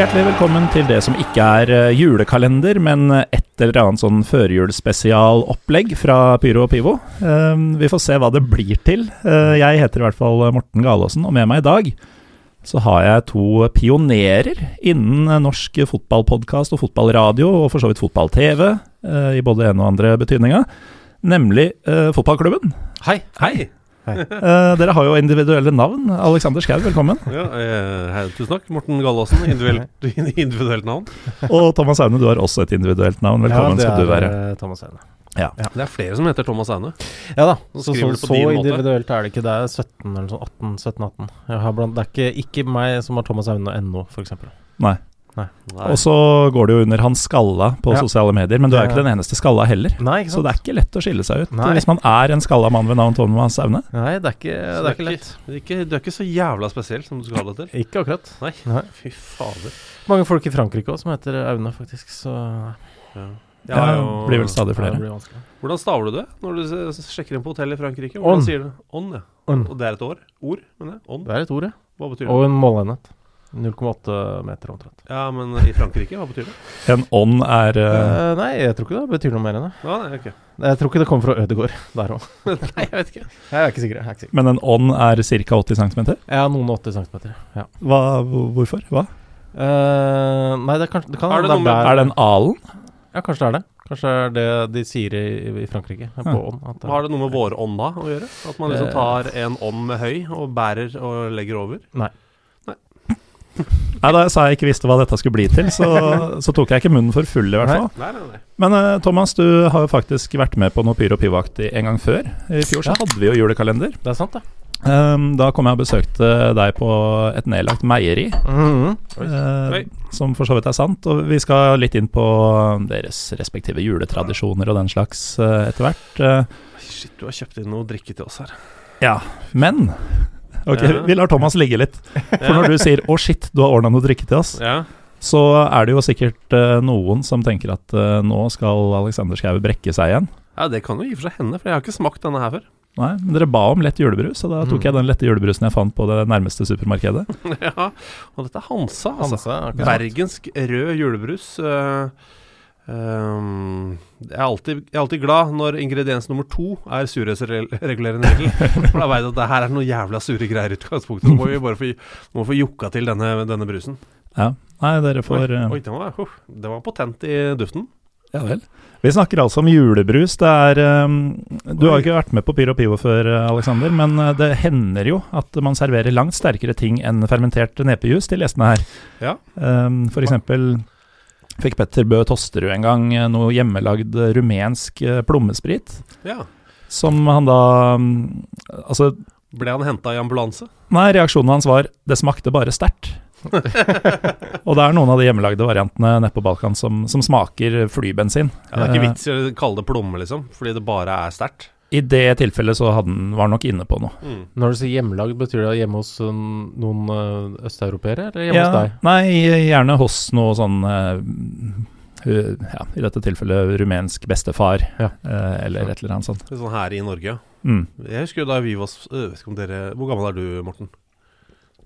Hjertelig velkommen til det som ikke er eh, julekalender, men eh, et eller annet sånn førjulsspesialopplegg fra Pyro og Pivo. Eh, Vi får se hva det blir til. Eh, Jeg heter i hvert fall Morten Galaasen, og med meg i dag så har jeg to pionerer innen eh, norsk fotballpodkast og fotballradio, og for så vidt fotball-TV, eh, i både en og andre betydninga, nemlig eh, fotballklubben. Hei. Hei. Eh, Dere har jo individuelle navn. Alexander Schou, velkommen. Ja, eh, hei. Tusen takk. Morten Gallaasen, individuelt, individuelt navn. Og Thomas Aune, du har også et individuelt navn. Velkommen det skal du er, være. eh, Thomas Heine. Det er flere som heter Thomas Aune. Ja da, så, Så så, skriver du på så din måte. individuelt er det ikke. Det er 17 eller sånn 18. 17-18. Jeg har blant- Det er ikke, ikke meg som har Thomas Aune NO, f.eks. Nei. Nei. Og så går det jo under han skalla på Ja. sosiale medier, men du er jo Det- ikke den eneste skalla heller. Nei, ikke Så sant? det er ikke lett å skille seg ut Nei. hvis man er en skalla mann ved navn Thomas Aune. Nei, det er ikke, det Så er ikke lett. det er ikke, du er ikke så jævla spesiell som du skal ha det til. Ikke akkurat. Nei. Nei. Fy fader. Mange folk i Frankrike òg som heter Aune, faktisk. Så Jeg Ja, har det jo- blir vel stadig det flere. blir vanskelig. Hvordan staver du det når du s- s- sjekker inn på hotell i Frankrike? Hvordan On. sier du det? On, ja. On. Og det er et år? Ord, mener jeg. On. Det er et ord, ja. Hva betyr det? Og en måleenhet. 0,8 meter omtrent. Ja, men i Frankrike, hva betyr det? En ånd er eh, Eh, nei, jeg tror ikke det betyr noe mer enn det. Ja, nei, ok. Jeg tror ikke det kommer fra Ødegård der òg. Nei, jeg vet ikke. Jeg er ikke sikker. Jeg er ikke sikker. Men en ånd er ca. 80 cm? Jeg har noen og 80 cm. Ja. Hva, hvorfor? Hva? Eh, nei, det, er kanskje, det kan Er det hende noe med- der- Er det en alen? Ja, kanskje det er det. Kanskje det er det de sier i, i Frankrike. På Ja. ånd. At Har det noe med våre ånd da å gjøre? At man liksom tar en ånd med høy og bærer og legger over? Nei, da jeg sa jeg ikke visste hva dette skulle bli til, så, så tok jeg ikke munnen for full, i hvert fall. Nei, nei, nei. Men eh, Thomas, du har jo faktisk vært med på noe Pyro Pivoaktig en gang før. I fjor så hadde vi jo julekalender. Det er sant, det. Ehm, da kom jeg og besøkte deg på et nedlagt meieri. Mhm. Eh, Oi. som for så vidt er sant. Og vi skal litt inn på deres respektive juletradisjoner og den slags eh, etter hvert. Eh, Shit, du har kjøpt inn noe drikke til oss her. men Ok, Ja. vi lar Thomas ligge litt. For når du sier 'å shit, du har ordna noe drikke til oss', Ja. så er det jo sikkert eh, noen som tenker at eh, nå skal Alexander Schou brekke seg igjen. ja, det kan jo i og for seg hende, for jeg har ikke smakt denne her før. Nei, men dere ba om lett julebrus, og da tok Mm. jeg den lette julebrusen jeg fant på det nærmeste supermarkedet. ja. Og dette er Hansa, altså. Hansa, akkurat. Bergensk rød julebrus. eh, ehm, jeg, er alltid, jeg er alltid glad når ingrediens nummer to er surhetsregulerende middel. For da veit jeg at det her er noen jævla sure greier i utgangspunktet. Så må vi bare få, må få jukka til denne, denne brusen. Ja. Nei, dere Oi, får eh, oi, den var, huff, den var potent i duften. Ja vel. Vi snakker altså om julebrus. Det er ehm, Du har Oi. jo ikke vært med på Pyro Pivo før, eh, Alexander, men eh, det hender jo at man serverer langt sterkere ting enn fermentert nepejus til gjestene her. Ja. Ehm, for eksempel fikk Petter Bø Tosterud en gang eh, noe hjemmelagd eh, rumensk eh, plommesprit, Ja. som han da mm, Altså, Ble han henta i ambulanse? nei, reaksjonen hans var 'det smakte bare sterkt'. og det er noen av de hjemmelagde variantene nede på Balkan som, som smaker flybensin. Ja, det er ikke Eh, vits i å kalle det plomme, liksom, fordi det bare er sterkt. I det tilfellet så hadde han, var han nok inne på noe. Mm. Når du sier hjemmelagd, betyr det hjemme hos eh, noen eh, østeuropeere, eller hjemme hos deg? Nei, gjerne hos noe sånn eh, hu- ja, I dette tilfellet rumensk bestefar, Ja. eh, eller et eller annet sånt. Litt sånn her i Norge. Mm. Jeg husker jo da vi var s- øh, vet ikke om dere, Hvor gammel er du, Morten?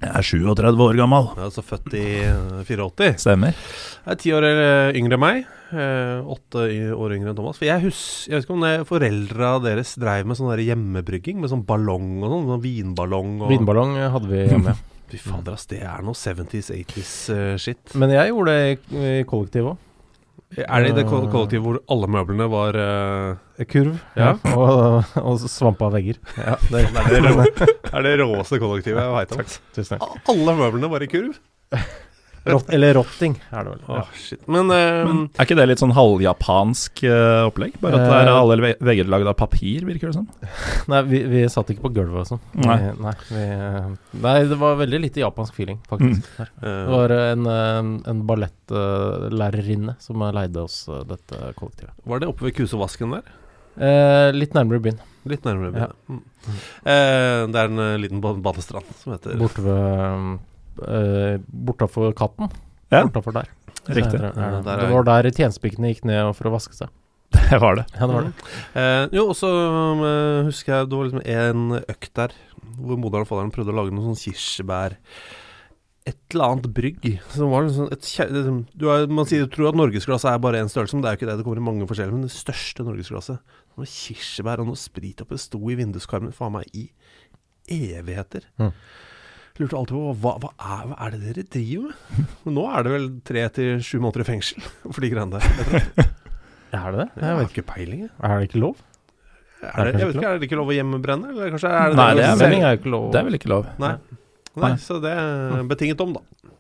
Jeg er 37 år gammel. Jeg er altså født i øh, 84. Stemmer. Jeg er ti år eh, yngre enn meg. eh, Åtte i- år yngre enn Thomas. For jeg, hus, jeg vet ikke om det- foreldra deres dreiv med sånn der hjemmebrygging, med sånn ballong og sånn. sånn Vinballong og Vinballong eh, hadde vi hjemme. Fy fader, ass. Det er noe 70s, 80s eh, shit. Men jeg gjorde det i, i kollektiv òg. Er det i det kol- kollektivet hvor alle møblene var eh, Kurv Ja. og, og svampa vegger. Ja, det, Det er det, rå, det er det råeste kollektivet jeg veit om. tusen takk. A- Alle møblene var i kurv. Rott, eller rotting, er det vel. Ja. Åh, shit. Men, eh, Er ikke det litt sånn halvjapansk eh, opplegg? Bare at det er alle ve- vegger lagd av papir, virker det som. Nei, vi, vi satt ikke på gulvet og sånn. Nei. Vi- Nei, vi, nei, det var veldig lite japansk feeling, faktisk. der. Det eh, var en, eh, en ballettlærerinne som leide oss eh, dette kollektivet. var det oppe ved kusevasken der? Eh, litt nærmere byen, Litt nærmere. Ja. byen, ja. Mm. Eh, det er en eh, liten ba- badestrand som heter borte ved eh, Bortafor Katten. Ja. Bortafor der. Riktig. Der, Ja, der, der er- det var der tjenestepikene gikk ned for å vaske seg. Det var det. Mm. Ja, det var det. Eh, jo, og så eh, husker jeg det var liksom en økt der hvor moderen og faderen prøvde å lage noe sånn kirsebær Et eller annet brygg. Som var liksom et kje- liksom, du er, man sier, tror at norgesglasset er bare én størrelse, men det er jo ikke det. Det kommer i mange forskjellige. Men det største norgesglasset det var kirsebær og noe sprit oppi. Det sto i vinduskarmen faen meg i evigheter. Mhm. Lurte alltid på hva, hva, er, hva er det dere driver med? Men nå er det vel tre til sju måneder i fengsel for de greiene der. Jeg, tror. Er det det? jeg Jeg har vet ikke. ikke peiling, jeg. Er det ikke lov? Er det, jeg vet ikke, er det ikke lov å hjemmebrenne? Eller kanskje er det Nei, det er vel- Sending er jo ikke lov. Det er vel ikke lov. Nei. Nei, så det er betinget om, da.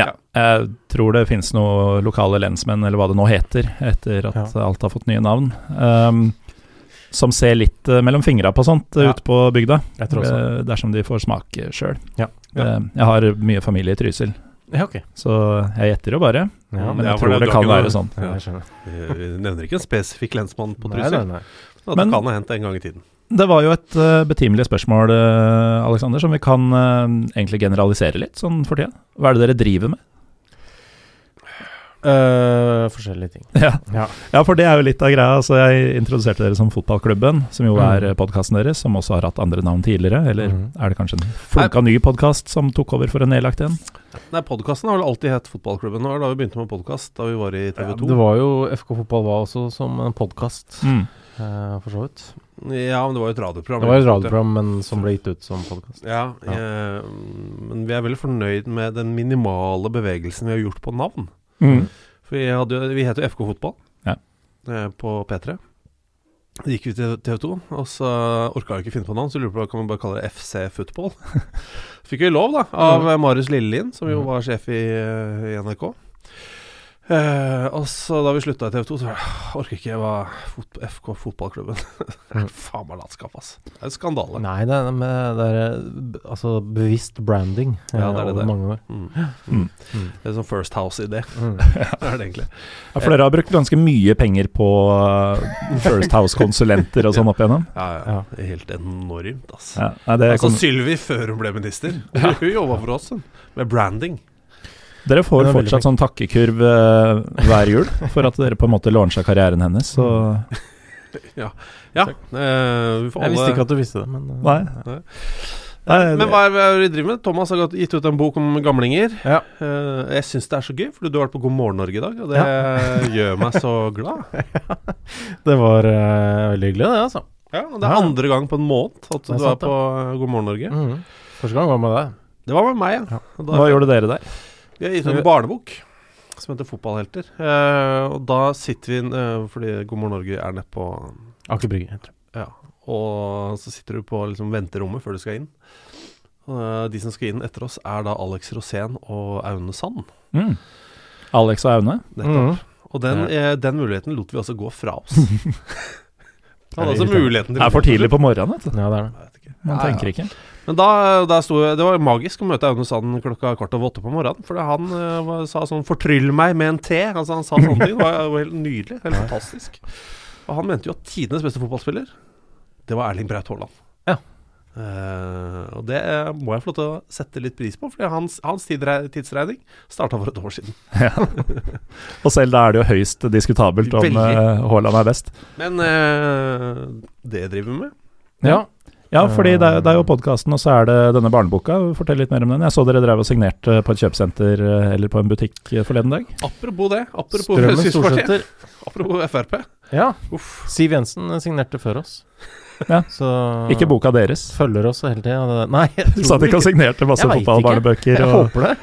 Ja. Jeg tror det finnes noen lokale lensmenn, eller hva det nå heter, etter at alt har fått nye navn, ehm, som ser litt eh, mellom fingra på sånt eh, Ja. ute på bygda, Jeg tror også. eh, dersom de får smake sjøl. Eh, Ja. jeg har mye familie i Trysil, Ja, ok. så jeg gjetter jo bare, Ja, men Ja, jeg for tror det- det du har kan ikke noe- være sånn. ja, jeg skjønner. Eh, Vi nevner ikke en spesifikk lensmann på Nei, Trysil. nei, nei. Men det Men- kan ha hendt en gang i tiden. Det var jo et eh, betimelig spørsmål, eh, Alexander, som vi kan eh, egentlig generalisere litt sånn for tida. Hva er det dere driver med? Eh, forskjellige ting. Ja. Ja. ja, for det er jo litt av greia. Altså, jeg introduserte dere som Fotballklubben, som jo Mm. er podkasten deres, som også har hatt andre navn tidligere. Eller Mm. er det kanskje en flunka ny podkast som tok over for en nedlagt en? Nei, podkasten har vel alltid hett Fotballklubben. Det var da vi begynte med podkast, da vi var i TV 2. Det var jo FK Fotball var også som en podkast, Mm. eh, for så vidt. Ja, men det var jo et radioprogram. Det var et radioprogram, men som ble gitt ut som podkast. Ja, eh, men vi er veldig fornøyd med den minimale bevegelsen vi har gjort på navn. Mm. For vi, hadde, jo- vi het jo FK Fotball Ja. eh, på P3. Så gikk vi til TV 2, og så orka jeg ikke finne på navn, så lurte jeg på kan vi bare kalle det FC Football. Fikk vi lov, da, av eh, Marius Lillelien, som jo var sjef i, eh, i NRK. Eh, og så da vi slutta i TV 2, så var det, «Åh, orker ikke jeg var fot FK Fotballklubben. Det er Faen meg latskap, ass. Det er en skandale. Nei, det er, men det er eh, b- altså bevisst branding eh, Ja, det er det over der. mange år. Mm. Mm. Det er sånn First House-idé, det er det egentlig. Ja, for dere har brukt ganske mye penger på eh, First House-konsulenter og sånn opp igjennom? Ja, ja. Helt enormt, ass. Ja. Nei, Eh, det Altså kom, Sylvi før hun ble minister. Hun jobba for oss, hun. Med branding. dere får det er veldig fortsatt sånn takkekurv eh, hver jul for at dere på en måte launcha karrieren hennes. Så Ja. eh, vi får Jeg visste alle- ikke at du visste det, men eh, nei. Nei, Men hva er hva er det vi driver med? Thomas har gått- gitt ut en bok om gamlinger. Ja. Eh, jeg syns det er så gøy, for du har vært på God morgen Norge i dag, og det gjør meg så glad. Det var eh, veldig hyggelig, det, altså. Ja, og Det er Ja. andre gang på en måned at er du er sant, på eh, God morgen Norge. Mhm. Første gang var med deg. Det var med meg, ja. Ja. Eh, Og hva gjorde dere der? Vi har gitt ut en barnebok som heter 'Fotballhelter'. Eh, og da sitter vi eh, Fordi God morgen Norge er nedpå Aker Brygge. heter det. Ja, og så sitter du på liksom venterommet før du skal inn. Eh, de som skal inn etter oss, er da Alex Rosén og Aune Sand. Mm. Alex og Aune? Mm. Nettopp. Og den, Ja. eh, den muligheten lot vi også gå fra oss. Han hadde altså irriterende? muligheten til Det er for tidlig på morgenen, vet du. Ja, det er det. Jeg vet ikke. Man Ja, ja. tenker ikke. Men da, da sto jeg- Det var magisk å møte Aune Sand klokka kvart over åtte på morgenen. For han eh, var, sa sånn 'fortryll meg med en te'. Altså, han sa sånne ting. Det var, det var helt nydelig. Helt fantastisk. Og han mente jo at tidenes beste fotballspiller, det var Erling Braut Haaland. Ja. Eh, og det eh, må jeg få lov til å sette litt pris på, for hans, hans tidre- tidsregning starta for et år siden. Og selv da er det jo høyst diskutabelt om Veldig. eh, Haaland er best. Men eh, det driver vi med. Ja. Ja, Eh. fordi det, er- det er jo podkasten, og så er det denne barneboka. Fortell litt mer om den. Jeg så dere drev og signerte på et kjøpesenter eh, eller på en butikk eh, forleden dag. Apropos det. Apropos Strømmen Fremskrittspartiet. Storsæter. Apropos Frp. Ja. Uff. Siv Jensen signerte før oss. Ja. Så Ikke boka deres. Følger oss hele tida. det- Nei, jeg tror Satt ikke og signerte masse Jeg vet ikke. fotballbarnebøker Jeg og håper det.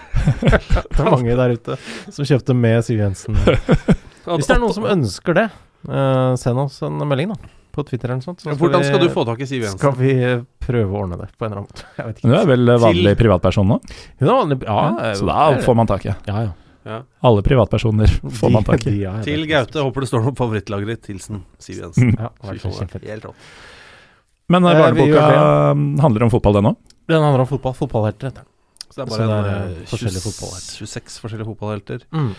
det er mange der ute som kjøpte med Siv Jensen. Hvis det er noen som ønsker det, eh, send oss en melding, da. På Twitter eller noe sånt. så Ja, hvordan vi- skal du få tak i Siv Jensen? Skal vi eh, prøve å ordne det på en eller annen måte? Jeg vet ikke. Men Du er vel eh, vanlig privatperson nå? Hun er vanlig Ja, eh, Så da det er- får man tak i. Ja, ja. Alle privatpersoner får man tak De- i. de er- Til Gaute. Håper det står noe på favorittlageret. Hilsen Siv Jensen. Ja, det Fy var faen, det Mm. kjempefint. er Helt rått. Men eh, Eh, vi gjør barneboka eh, handler om fotball, den òg? Den handler om fotball. Fotballhelter, heter den. Så Så det er bare det en, er, eh, eh, forskjellige 20 fotballhelter. 26 forskjellige fotballhelter. Mm.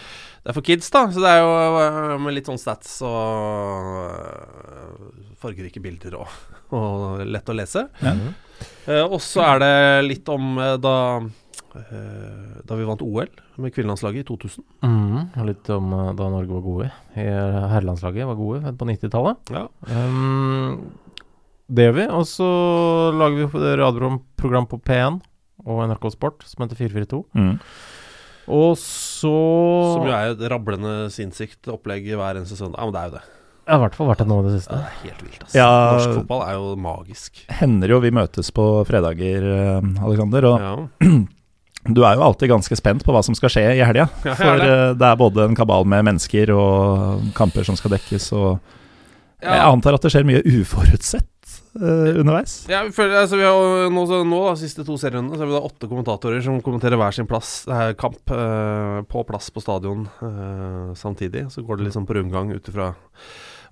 Det er for kids, da. Så det er jo eh, med litt sånn stats og eh, fargerike bilder og, og lett å lese. Ja. Mhm. Eh, og så er det litt om eh, da eh, da vi vant OL med kvinnelandslaget i 2000. Mm, og litt om eh, da Norge var gode. Eh, Herrelandslaget var gode på 90-tallet. Ja. Um, det gjør vi. Og så lager vi radioprogram på P1 og NRK Sport som heter 442. Mm. Og så Som jo er et rablende sinnssykt opplegg hver eneste søndag. Ja, men det er jo det. Jeg har i hvert fall vært det nå i det siste. Det er helt vilt, ass. Ja. Norsk fotball er jo magisk. Hender jo vi møtes på fredager, eh, Alexander. Og Ja. du er jo alltid ganske spent på hva som skal skje i helga. Ja, jeg er For det. eh, det er både en kabal med mennesker og kamper som skal dekkes, og Ja. jeg antar at det skjer mye uforutsett eh, underveis. Ja, vi føler, altså, vi har, jo nå, så, nå da, siste to serierundene, så har vi da åtte kommentatorer som kommenterer hver sin plass, eh, kamp eh, på plass på stadion eh, samtidig. Så går det liksom på rundgang ut ifra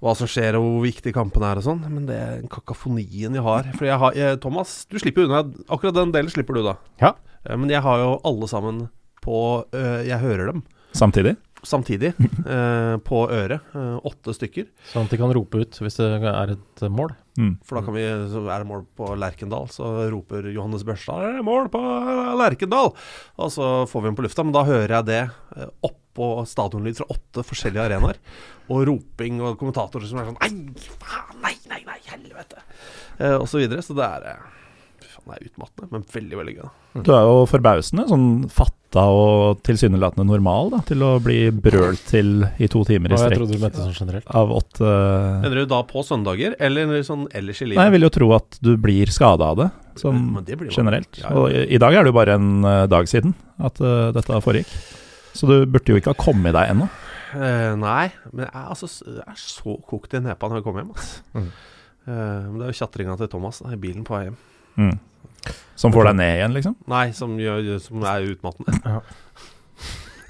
hva som skjer og hvor viktig kampen er og sånn. Men det er kakofonien jeg har. For jeg har jeg, Thomas, du slipper jo unna. Akkurat den delen slipper du, da. Ja. Eh, men jeg har jo alle sammen på eh, Jeg hører dem Samtidig. samtidig eh, på øret. eh, åtte stykker. Sånn at de kan rope ut hvis det er et eh, mål. Mm. For da kan vi, så er det mål på Lerkendal, så roper Johannes Børstad «Det er 'mål på Lerkendal'! Og så får vi den på lufta, men da hører jeg det eh, oppå stadionlyd fra åtte forskjellige arenaer. Og roping og kommentatorer som er sånn 'Nei, faen, nei, nei, nei, helvete!' Eh, og så videre. Så det er eh, Fy faen, det er utmattende, men veldig, veldig gøy. da. Du er jo forbausende sånn fatta og tilsynelatende normal da, til å bli brølt til i to timer i Og jeg trodde du strekk mente sånn generelt. av åtte Mener du da på søndager, eller sånn ellers i livet? Mm, Nei, jeg vil jo tro at du blir skada av det, sånn Men det blir man. generelt. Ja, ja. Og i i dag er det jo bare en eh, dag siden at eh, dette foregikk. Så du burde jo ikke ha kommet deg ennå. Eh, nei, men jeg, er altså, s- jeg er så kokt i nepa når jeg kommer hjem. ass. Mm. Eh, men det er jo tjatringa til Thomas da, i bilen på vei hjem. Mm. Som får deg ned igjen, liksom. Nei, som, gjør, som er utmattende.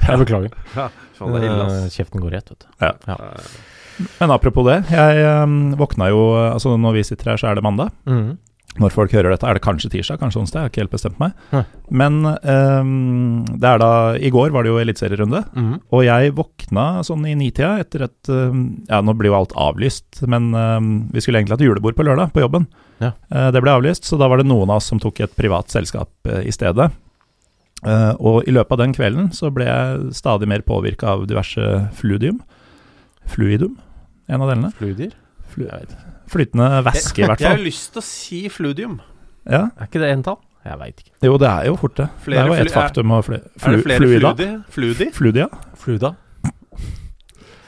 Jeg beklager. Faen, det er ille, Eh, ass. Kjeften går i ett, vet du. Eh, Men apropos det, jeg eh, våkna jo eh, Altså når vi sitter her, så er det mandag. Mm. Når folk hører dette, er det kanskje tirsdag, kanskje onsdag, jeg har ikke helt bestemt meg. Nei. Men eh, det er da I går var det jo eliteserierunde. Mm. Og jeg våkna sånn i nitida etter et øhm, Ja, nå blir jo alt avlyst, men øhm, vi skulle egentlig hatt julebord på lørdag, på jobben. Ja. Eh, Det ble avlyst, så da var det noen av oss som tok et privat selskap eh, i stedet. Eh, Og i løpet av den kvelden så ble jeg stadig mer påvirka av diverse fluidium. Fluidum, en av delene. Fluidyr? Flu- Flytende væske, i hvert Jeg har fall. lyst til å si fludium. Ja. Er ikke det entall? Jeg veit ikke. Jo, det er jo fort, det. Flere det er jo flu- et faktum. å fly, er flu, det flere fluida. fludi? fludi? Fludia. Fluda?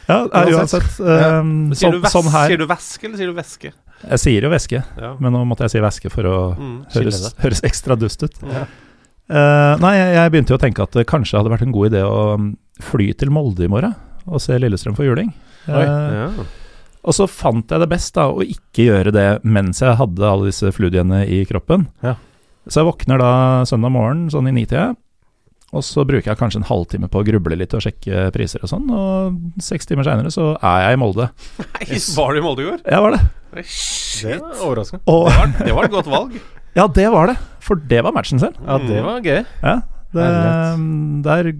Ja, eh, uansett. øhm, Sier, du sånn, væs, sånn her. sier du væske, eller sier du væske? Jeg sier jo væske. Ja. Men nå måtte jeg si væske for å Mm. Skille høres, høres ekstra dust ut. Ja. Eh, nei, jeg, jeg begynte jo å tenke at det kanskje hadde vært en god idé å mm, fly til Molde i morgen og se Lillestrøm for juling. Eh, Oi, Ja. Og så fant jeg det best da, å ikke gjøre det mens jeg hadde alle disse fludiene i kroppen. Ja. Så jeg våkner da søndag morgen sånn i nitida, og så bruker jeg kanskje en halvtime på å gruble litt og sjekke priser og sånn, og seks timer seinere så er jeg i Molde. Nei, var du i Molde i går? Jeg var det. Det var overraskende. Og Det var, det var et godt valg. ja, det var det. For det var matchen selv. Ja, det var gøy. Ja, det, der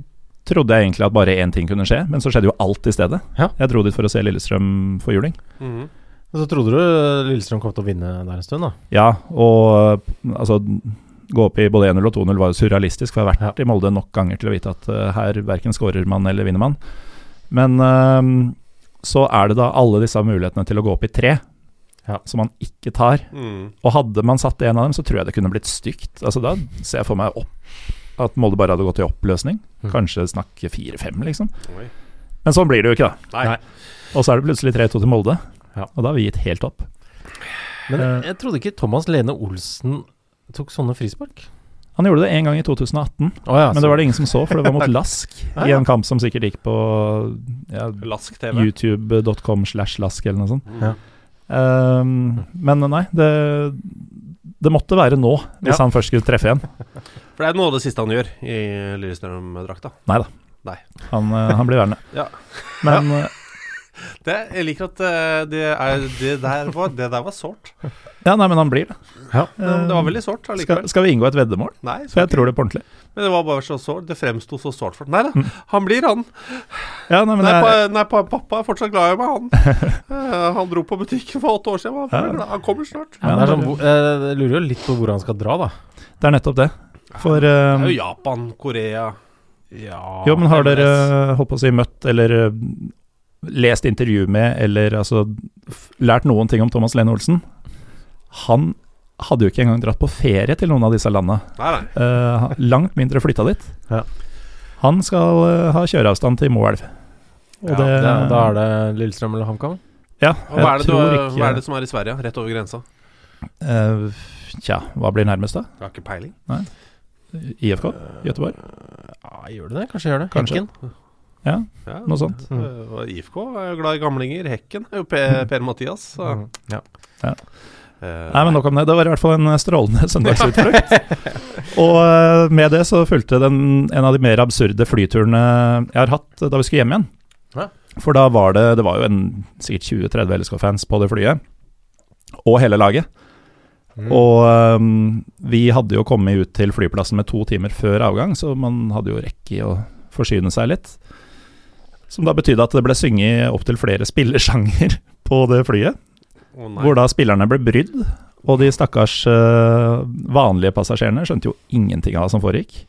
trodde jeg egentlig at bare én ting kunne skje, men så skjedde jo alt i stedet. Ja. Jeg dro dit for å se Lillestrøm for juling. Mhm. Og så trodde du eh, Lillestrøm kom til å vinne der en stund, da. Ja, og øh, altså Gå opp i både 1-0 og 2-0 var jo surrealistisk, for jeg har vært i Molde nok ganger til å vite at øh, her verken skårer man eller vinner man. Men øhm, så er det da alle disse mulighetene til å gå opp i tre, Ja. som man ikke tar. Mhm. Og hadde man satt en av dem, så tror jeg det kunne blitt stygt. Altså Da ser jeg for meg opp, at Molde bare hadde gått i oppløsning. Mm. Kanskje snakke fire-fem, liksom. Oi. Men sånn blir det jo ikke, da. Nei. Nei. Og så er det plutselig 3-2 til Molde, Ja. og da har vi gitt helt opp. Eh. Men jeg trodde ikke Thomas Lene Olsen tok sånne frispark. Han gjorde det én gang i 2018, Å ja, men det var det ingen som så, for det var mot Lask Ja, i ja. en kamp som sikkert gikk på ja, Lask TV. youtube.com slash lask eller noe sånt. Ja. Ehm, men nei, det, det måtte være nå, hvis Ja. han først skulle treffe igjen. For det er noe av det siste han gjør i Lillestrøm-drakta. Han, eh, han blir værende. Ja. Men eh, Det, jeg liker at eh, det, er, det, der var, det der var sårt. Ja, nei, men han blir det. Ja. Men Det var veldig sårt Eh, skal, allikevel. skal vi inngå et veddemål? Nei, For jeg tror det på ordentlig. men det var bare så sårt. Det fremsto så sårt for Nei da, han blir han. Ja, nei, men Nei, det er, pa, nei, pa, pappa er fortsatt glad i meg, han. Eh, han dro på butikken for åtte år siden. men Han, Ja. blir glad. han kommer snart. Men det er sånn, hvor- eh, jeg lurer jo litt på hvor han skal dra, da. det er nettopp det. For Det er eh, jo Japan, Korea ja, Jo, men har MLS. dere eh, holdt på å si møtt eller eh, lest intervju med eller altså f- lært noen ting om Thomas Lene Olsen? Han hadde jo ikke engang dratt på ferie til noen av disse landene. Nei, nei. Eh, ha- langt mindre flytta dit. Ja. Han skal eh, ha kjøreavstand til Moelv. Og Ja, det, det, da er det Lillestrøm eller HamKam? Ja, Og hva, er jeg det du, tror hva er det ikke som er i Sverige? Rett over grensa? eh, Tja, hva blir nærmest, da? Jeg har ikke peiling. IFK? Eh, Göteborg? Ja, gjør det det? Kanskje gjør det. Kanskje. Henken. Ah, Ja, Noe sånt. eh, og IFK er jo glad i gamlinger. Hekken er jo Per, per Mathias. Så. Mm. Ja. eh, Nei, men nok om det. Det var i hvert fall en eh, strålende søndagsutflukt. og eh, med det så fulgte den, en av de mer absurde flyturene jeg har hatt eh, da vi skulle hjem igjen. Ja. For da var det Det var jo en, sikkert 20-30 LSK-fans på det flyet, og hele laget. Mm. Og eh, vi hadde jo kommet ut til flyplassen med to timer før avgang, så man hadde jo rekke i å forsyne seg litt. Som da betydde at det ble synget opptil flere spillersjanger på det flyet. å nei. Hvor da spillerne ble brydd, og de stakkars eh, vanlige passasjerene skjønte jo ingenting av hva som foregikk.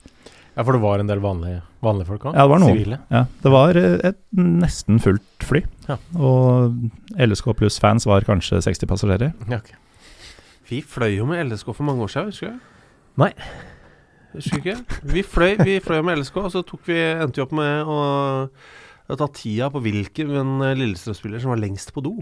ja, for det var en del vanlige, vanlige folk òg? Ja, det var noen. Sivile. Ja, det var eh, et nesten fullt fly, Ja. og LSK pluss-fans var kanskje 60 passasjerer. Ja, ok. Vi fløy jo med LSK for mange år siden, husker du? Nei. Husker du ikke? Vi fløy, vi fløy med LSK, og så tok vi, endte vi opp med å, å ta tida på hvilken eh, Lillestrøm-spiller som var lengst på do.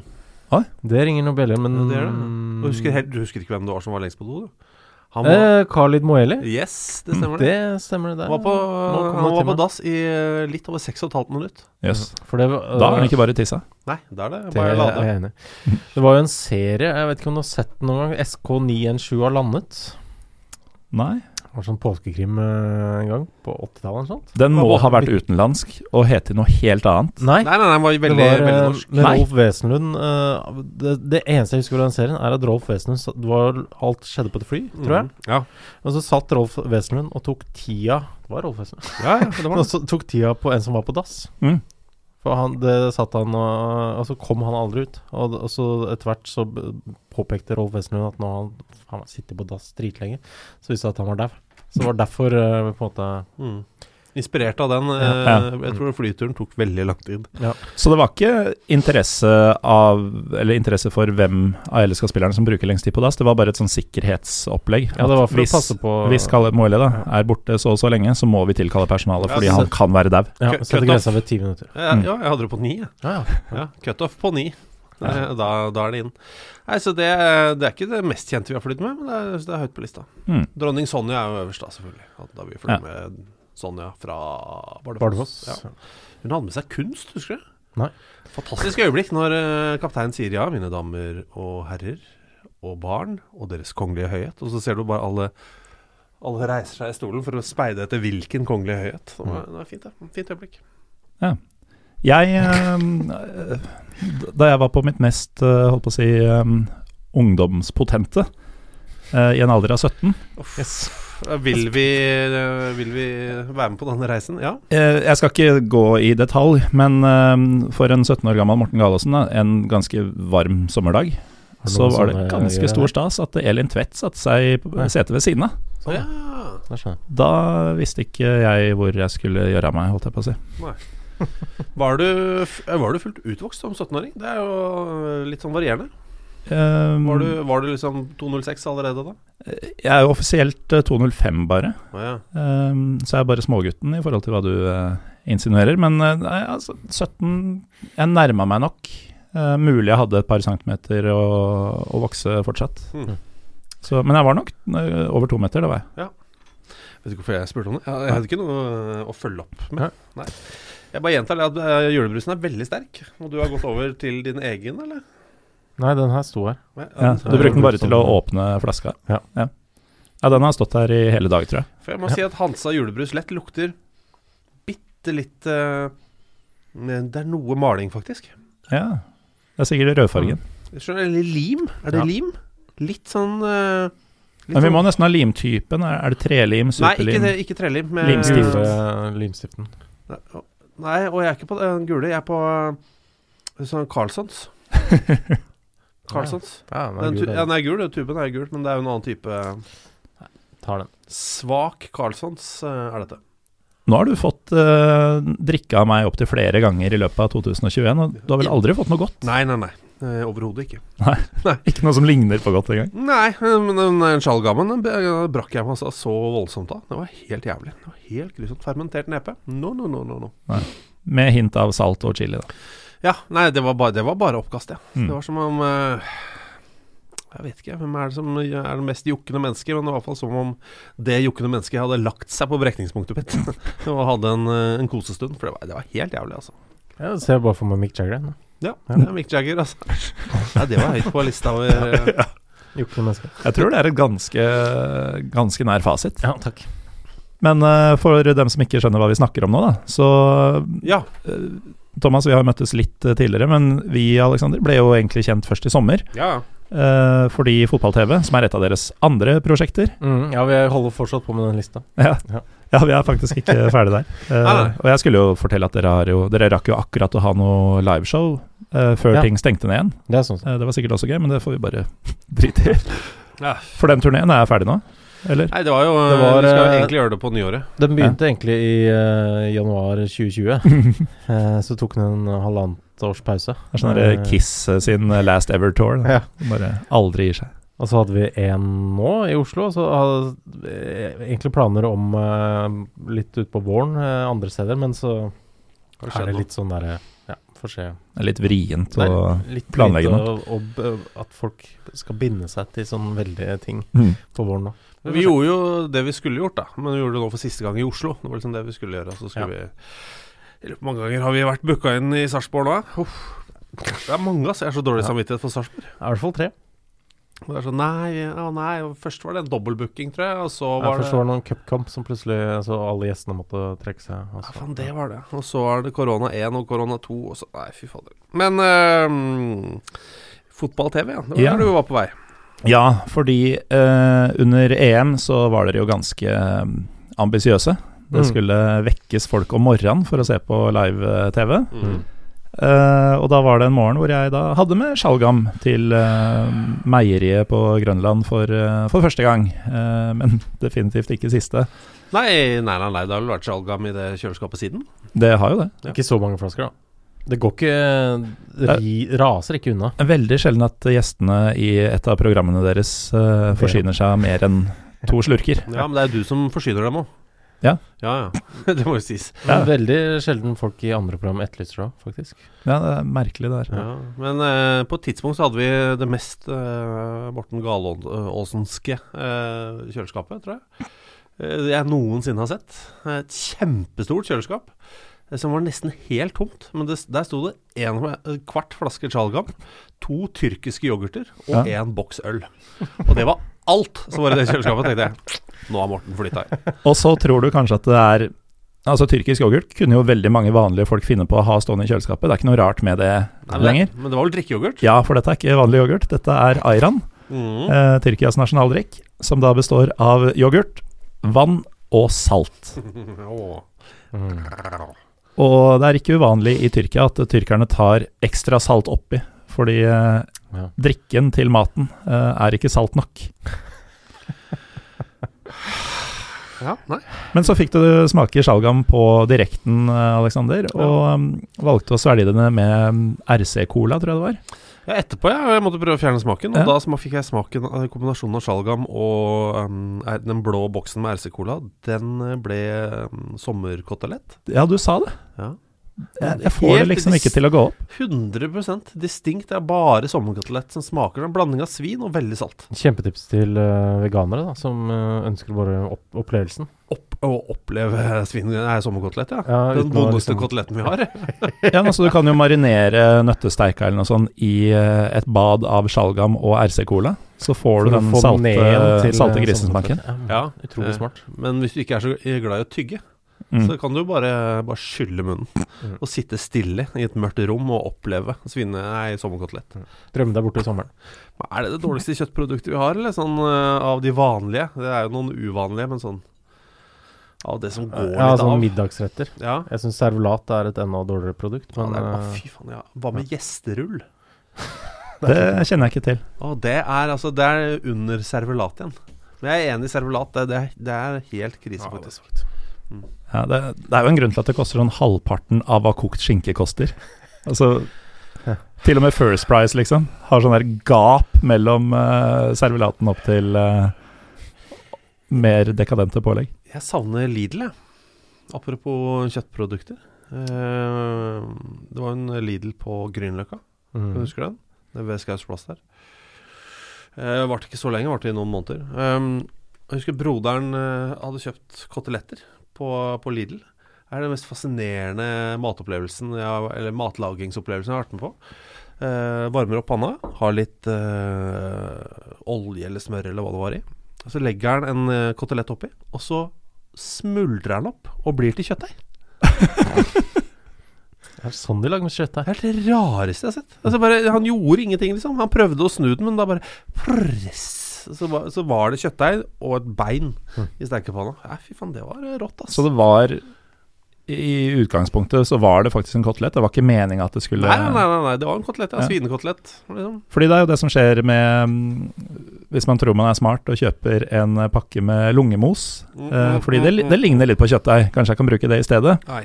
Det ringer noen bjeller, men Ja, det gjør det. Du husker, helt, du husker ikke hvem det var som var lengst på do? Du? Han var, Mm. eh, Khalid Moeli. Yes, det stemmer. det Det stemmer, det. Han var på, Nå kom han det var til på meg. dass i eh, litt over 6,5 minutt. Jøss. For det var, øh, Da er han ikke bare tissa. Nei, det er det. Det Bare er lade. jeg enig i. Det var jo en serie, jeg vet ikke om du har sett den noen gang, SK917 har landet. Nei. Det var sånn påskekrim eh, en gang, på 80-tallet eller noe sånt. Den må Det var ha vært litt- utenlandsk og hete noe helt annet. Nei, Nei, nei, nei, han var veldig, det var veldig eh, norsk. med Nei. Rolf Wesenlund eh, det, det eneste jeg husker fra den serien, er at Rolf Wesenlund sa- det var, Alt skjedde på et fly, tror jeg. Mhm. Ja. Og så satt Rolf Wesenlund og tok tida Det var Rolf Wesenlund. Ja, ja, det var Og det. så tok tida på en som var på dass. Mm. For han, det satt han og, og så kom han aldri ut. Og, og så etter hvert så b- påpekte Rolf Wesenlund at nå har han, han sitter på dass dritlenge. Så visste det at han var dau. Så det var derfor eh, på en måte Mm. Inspirert av den. eh, Ja. Jeg tror flyturen tok veldig lang tid. Så det var ikke interesse av Eller interesse for hvem av LSK-spillerne som bruker lengst tid på dass, det var bare et sånn sikkerhetsopplegg. Ja, det var for Hvis- å passe på Hvis Kalle Moelle da er borte så og så lenge, så må vi tilkalle personalet Ja, fordi så- han kan være dau. ja, cut- Sette cut grensa off. ved ti minutter. Ja, Mm. ja, jeg hadde det på ni. jeg. Ja, ja. Ja, Cutoff på ni. Det er- Ja. Da, da er det inn. Nei, så det, det er ikke det mest kjente vi har flydd med, men det er, det er høyt på lista. Mm. Dronning Sonja er jo øverst, da, selvfølgelig. Ja, Da vi fløy Ja. med Sonja fra Bardufoss. Bardufoss. Ja. Hun hadde med seg kunst, husker du? Nei. Fantastisk øyeblikk når eh, kapteinen sier ja, mine damer og herrer og barn og deres kongelige høyhet. Og så ser du bare alle alle reiser seg i stolen for å speide etter hvilken kongelige høyhet. Det Mm. var, det var fint, det. Fint øyeblikk. Jeg eh, Da jeg var på mitt mest eh, holdt på å si eh, ungdomspotente eh, i en alder av 17 Vil vi, eh, vil vi være med på denne reisen? Ja. Eh, Jeg skal ikke gå i detalj, men eh, for en 17 år gammel Morten Galaasen, da, en ganske varm sommerdag, det så noe var det sånn, eh, ganske greier, stor ja? stas at Elin Tvedt satte seg på Ja. setet ved siden av. Sånn, ja. ja. Da skjønner jeg. Da visste ikke jeg hvor jeg skulle gjøre av meg, holdt jeg på å si. Var, du, f- eh, var du fullt utvokst som 17-åring? Det er jo eh, litt sånn varierende. Eh, Var du, var du liksom 206 allerede da? Jeg er jo offisielt eh, 205 bare, Å ja. Ehm, så jeg er bare smågutten i forhold til hva du eh, insinuerer. Men eh, nei, altså, 17 Jeg nærma meg nok. Eh, mulig jeg hadde et par centimeter å, å vokse fortsatt. Mm. Så, men jeg var nok eh, over to meter, det var jeg. Vet ikke hvorfor jeg spurte om det. Jeg, jeg hadde ikke noe øh, å følge opp med. Nei. Jeg bare gjentar det at øh, julebrusen er veldig sterk. Og du har gått over til din egen, eller? altså, Nei, den her sto her. Nei, Ja, den- du brukte den bare til å åpne flaska? Ja. ja. Ja, den har stått her i hele dag, tror jeg. For jeg må si at Hansa julebrus lett lukter bitte litt eh, Det er noe maling, faktisk. Ja. Det er sikkert rødfargen. Jeg skjønner, Eller lim. Er det Ja. lim? Litt sånn eh, litt Men vi sånn- må nesten ha limtypen. Er er det trelim, Nei, ikke, superlim? tre- ikke trelim. men- Limstift. Gule limstiften. Nei, å- Nei, og jeg er ikke på den gule. Jeg er på eh, sånn Carlsons. Carlsons. Ja, den er Den, gul, tu den. ja, den er gul, og tuben er gul, men det er jo en annen type Tar den. Svak Carlsons eh, er dette. Nå har du fått uh, drikke av meg opptil flere ganger i løpet av 2021, og du har vel aldri fått noe godt? Nei, nei, nei. Eh, Overhodet ikke. Ikke noe som ligner på godt engang? Nei, eh, men den den skjallgammen den be- den brakk jeg meg altså så voldsomt av. Det var helt jævlig. Det var Helt grusomt. Fermentert nepe. No, no, no, no. no. Med hint av salt og chili, da. Ja, nei, det var bare, det var bare oppkast, ja. Mm. Det var som om eh, Jeg vet ikke hvem er det som er det mest jokkende mennesket, men det var i hvert fall som om det jokkende mennesket hadde lagt seg på brekningspunktet mitt og hadde en, eh, en kosestund. For det var, det var helt jævlig, altså. Jeg ser bare for meg Mick Jagger. jeg, nå. Ja, det er Mick Jagger, altså. Nei, det var høyt på lista over eh, Jukle menneske. Jeg tror det er et ganske, ganske nær fasit. Ja, takk. Men eh, for dem som ikke skjønner hva vi snakker om nå, da, så Ja. Thomas, vi har møttes litt eh, tidligere, men vi Alexander, ble jo egentlig kjent først i sommer. ja. eh, fordi Fotball-TV, som er et av deres andre prosjekter Mm, ja, vi holder fortsatt på med den lista. Ja, Ja. ja vi er faktisk ikke ferdig der. Eh, Nei, nei. og jeg skulle jo fortelle at dere, har jo, dere rakk jo akkurat å ha noe liveshow eh, før Ja. ting stengte ned igjen. Det er sånn. Eh, det var sikkert også gøy, men det får vi bare drite i. Ja. For den turneen er ferdig nå, eller? Nei, det var jo eh, Det var, Vi skal jo eh, egentlig gjøre det på nyåret. Den begynte egentlig i eh, januar 2020. Eh, så tok den en halvannet års pause. Det er sånn der, eh, Eh, Kiss eh, sin eh, Last Ever Tour. Da. Ja. Bare aldri gir seg. Og så hadde vi én nå i Oslo. og Så hadde eh, egentlig planer om eh, litt utpå våren eh, andre steder, men så Har det er skjedd det noe? litt sånn derre Ja, får se. Det er litt vrient å litt planlegge lite å- å b- At folk skal binde seg til sånne veldige ting Mm. på våren nå. Vi gjorde jo det vi skulle gjort, da. Men vi gjorde det nå for siste gang i Oslo. Det var liksom det vi skulle gjøre. og Så skulle vi Eller, Mange ganger har vi vært booka inn i Sarpsborg nå. ja. Uff. Det er mange, altså. Jeg har så dårlig Ja. samvittighet for Sarpsborg. I hvert fall tre. Og Det er sånn nei, å nei. og Først var det en dobbeltbooking, tror jeg. Og så Jeg var først var det det noen cupkamp som plutselig Så alle gjestene måtte trekke seg. altså. og ja, så- faen, det var det. Og så er det korona 1 og korona 2, og så Nei, fy fader. Men ehm, fotball-TV, ja. Det var Ja. der du var på vei. Ja, fordi eh, under EM så var dere jo ganske eh, ambisiøse. Det Mm. skulle vekkes folk om morgenen for å se på eh, live-TV. Mm. Eh, og da var det en morgen hvor jeg da hadde med Sjalgam til eh, meieriet på Grønland for, eh, for første gang. Eh, men definitivt ikke siste. Nei, nei, nei, nei, det har vel vært Sjalgam i det kjøleskapet siden. Det har jo det. Ja. Ikke så mange flasker, da. Det går ikke ri, Raser ikke unna. Veldig sjelden at gjestene i et av programmene deres eh, forsyner seg av mer enn to slurker. Ja, men det er du som forsyner dem òg. Ja. ja, ja. Det må jo sies. Men Ja. Veldig sjelden folk i andre program etterlyser det, også, faktisk. Ja, det er merkelig det her. Ja. Men eh, på et tidspunkt så hadde vi det mest eh, Morten Galaasenske eh, kjøleskapet, tror jeg. Eh, jeg noensinne har sett. Et kjempestort kjøleskap. eh, Som var nesten helt tomt, men det, der sto det en eh, kvart flaske Chalgam, to tyrkiske yoghurter og én boks øl. Og det var alt som var i det kjøleskapet, tenkte jeg. Nå har Morten flytta inn. Og så tror du kanskje at det er Altså Tyrkisk yoghurt kunne jo veldig mange vanlige folk finne på å ha stående i kjøleskapet. Det er ikke noe rart med det Nei, lenger. Men, men det var vel drikkeyoghurt? Ja, for dette er ikke vanlig yoghurt. Dette er ayran, Mm. eh, Tyrkias nasjonaldrikk, som da består av yoghurt, vann og salt. Åh. Mm. Og det er ikke uvanlig i Tyrkia at tyrkerne tar ekstra salt oppi, fordi eh, Ja. drikken til maten eh, er ikke salt nok. Ja, nei. Men så fikk du smake sjalgam på direkten, eh, Alexander, og mm, valgte å svelge denne med mm, RC-cola, tror jeg det var. Ja, etterpå ja, jeg måtte prøve å fjerne smaken. Og Ja. da sma- fikk jeg smaken av kombinasjonen av sjalgam og um, er- den blå boksen med RC-cola. Den eh, ble um, sommerkotelett. Ja, du sa det. Ja. Jeg, jeg får det Helt liksom ikke til å gå opp. 100 distinkt. Det er bare sommerkotelett som smaker. Det er En blanding av svin og veldig salt. Kjempetips til eh, veganere da, som eh, ønsker bare opp opplevelsen. Opp, å oppleve svin Nei, sommerkotelett, ja. Ja, uten Den å vondeste liksom- koteletten vi har. Ja, altså, du kan jo marinere nøttesteika eller noe sånt i eh, et bad av sjalgam og RC-cola. Så får du For å den få ned salte, til, salte eh, grisesmaken. sommerkotelett. Ja, Ja, utrolig eh, smart. Men hvis du ikke er så glad i å tygge, Mm. så kan du bare, bare skylle munnen. Mm. Og sitte stille i et mørkt rom og oppleve svine... Nei, sommerkotelett. Drømme deg borte i sommeren. Men Er det det dårligste kjøttproduktet vi har, eller sånn eh, av de vanlige? Det er jo noen uvanlige, men sånn Av det som går Ja, litt sånn av. middagsretter. Ja. Jeg syns servelat er et enda dårligere produkt, Ja, men det er, eh, å, fy faen, ja. Hva med gjesterull? Det kjenner jeg ikke til. Å, det er altså Det er under servelat igjen. Men jeg er enig i servelat. Det, det, det er helt krise, faktisk. Ja, det, det er jo en grunn til at det koster sånn halvparten av hva kokt skinke koster. Altså Til og med First Price, liksom, har sånn der gap mellom eh, servelaten opp til eh, mer dekadente pålegg. Jeg savner Lidl, jeg. Apropos kjøttprodukter. Eh, det var en Lidl på Grünerløkka. mm. Husker du den? Det er ved Skaus plass der. Uh, varte ikke så lenge, varte i noen måneder. Ehm, jeg husker broderen eh, hadde kjøpt koteletter på, på Lidl. Det er den mest fascinerende matopplevelsen jeg, har- eller matlagingsopplevelsen jeg har vært med på. Eh, varmer opp panna, har litt eh, olje eller smør eller hva det var i. Og så legger han en eh, kotelett oppi, og så smuldrer han opp og blir til kjøttdeig. Det er sånn de lager med kjøttdeig. Det er det rareste jeg har sett. Altså bare, han gjorde ingenting, liksom. Han prøvde å snu den, men da bare prrress, så, var, så var det kjøttdeig og et bein i stekepanna. Ja, fy faen, det var rått, ass. Så det var I utgangspunktet så var det faktisk en kotelett. Det var ikke meninga at det skulle nei, nei, nei, nei, nei, det var en kotelett. Ja, Ja. Svinekotelett. Liksom. Fordi det er jo det som skjer med mm, Hvis man tror man er smart og kjøper en eh, pakke med lungemos. Mm, eh, fordi det, li- det ligner litt på kjøttdeig. Kanskje jeg kan bruke det i stedet. Nei.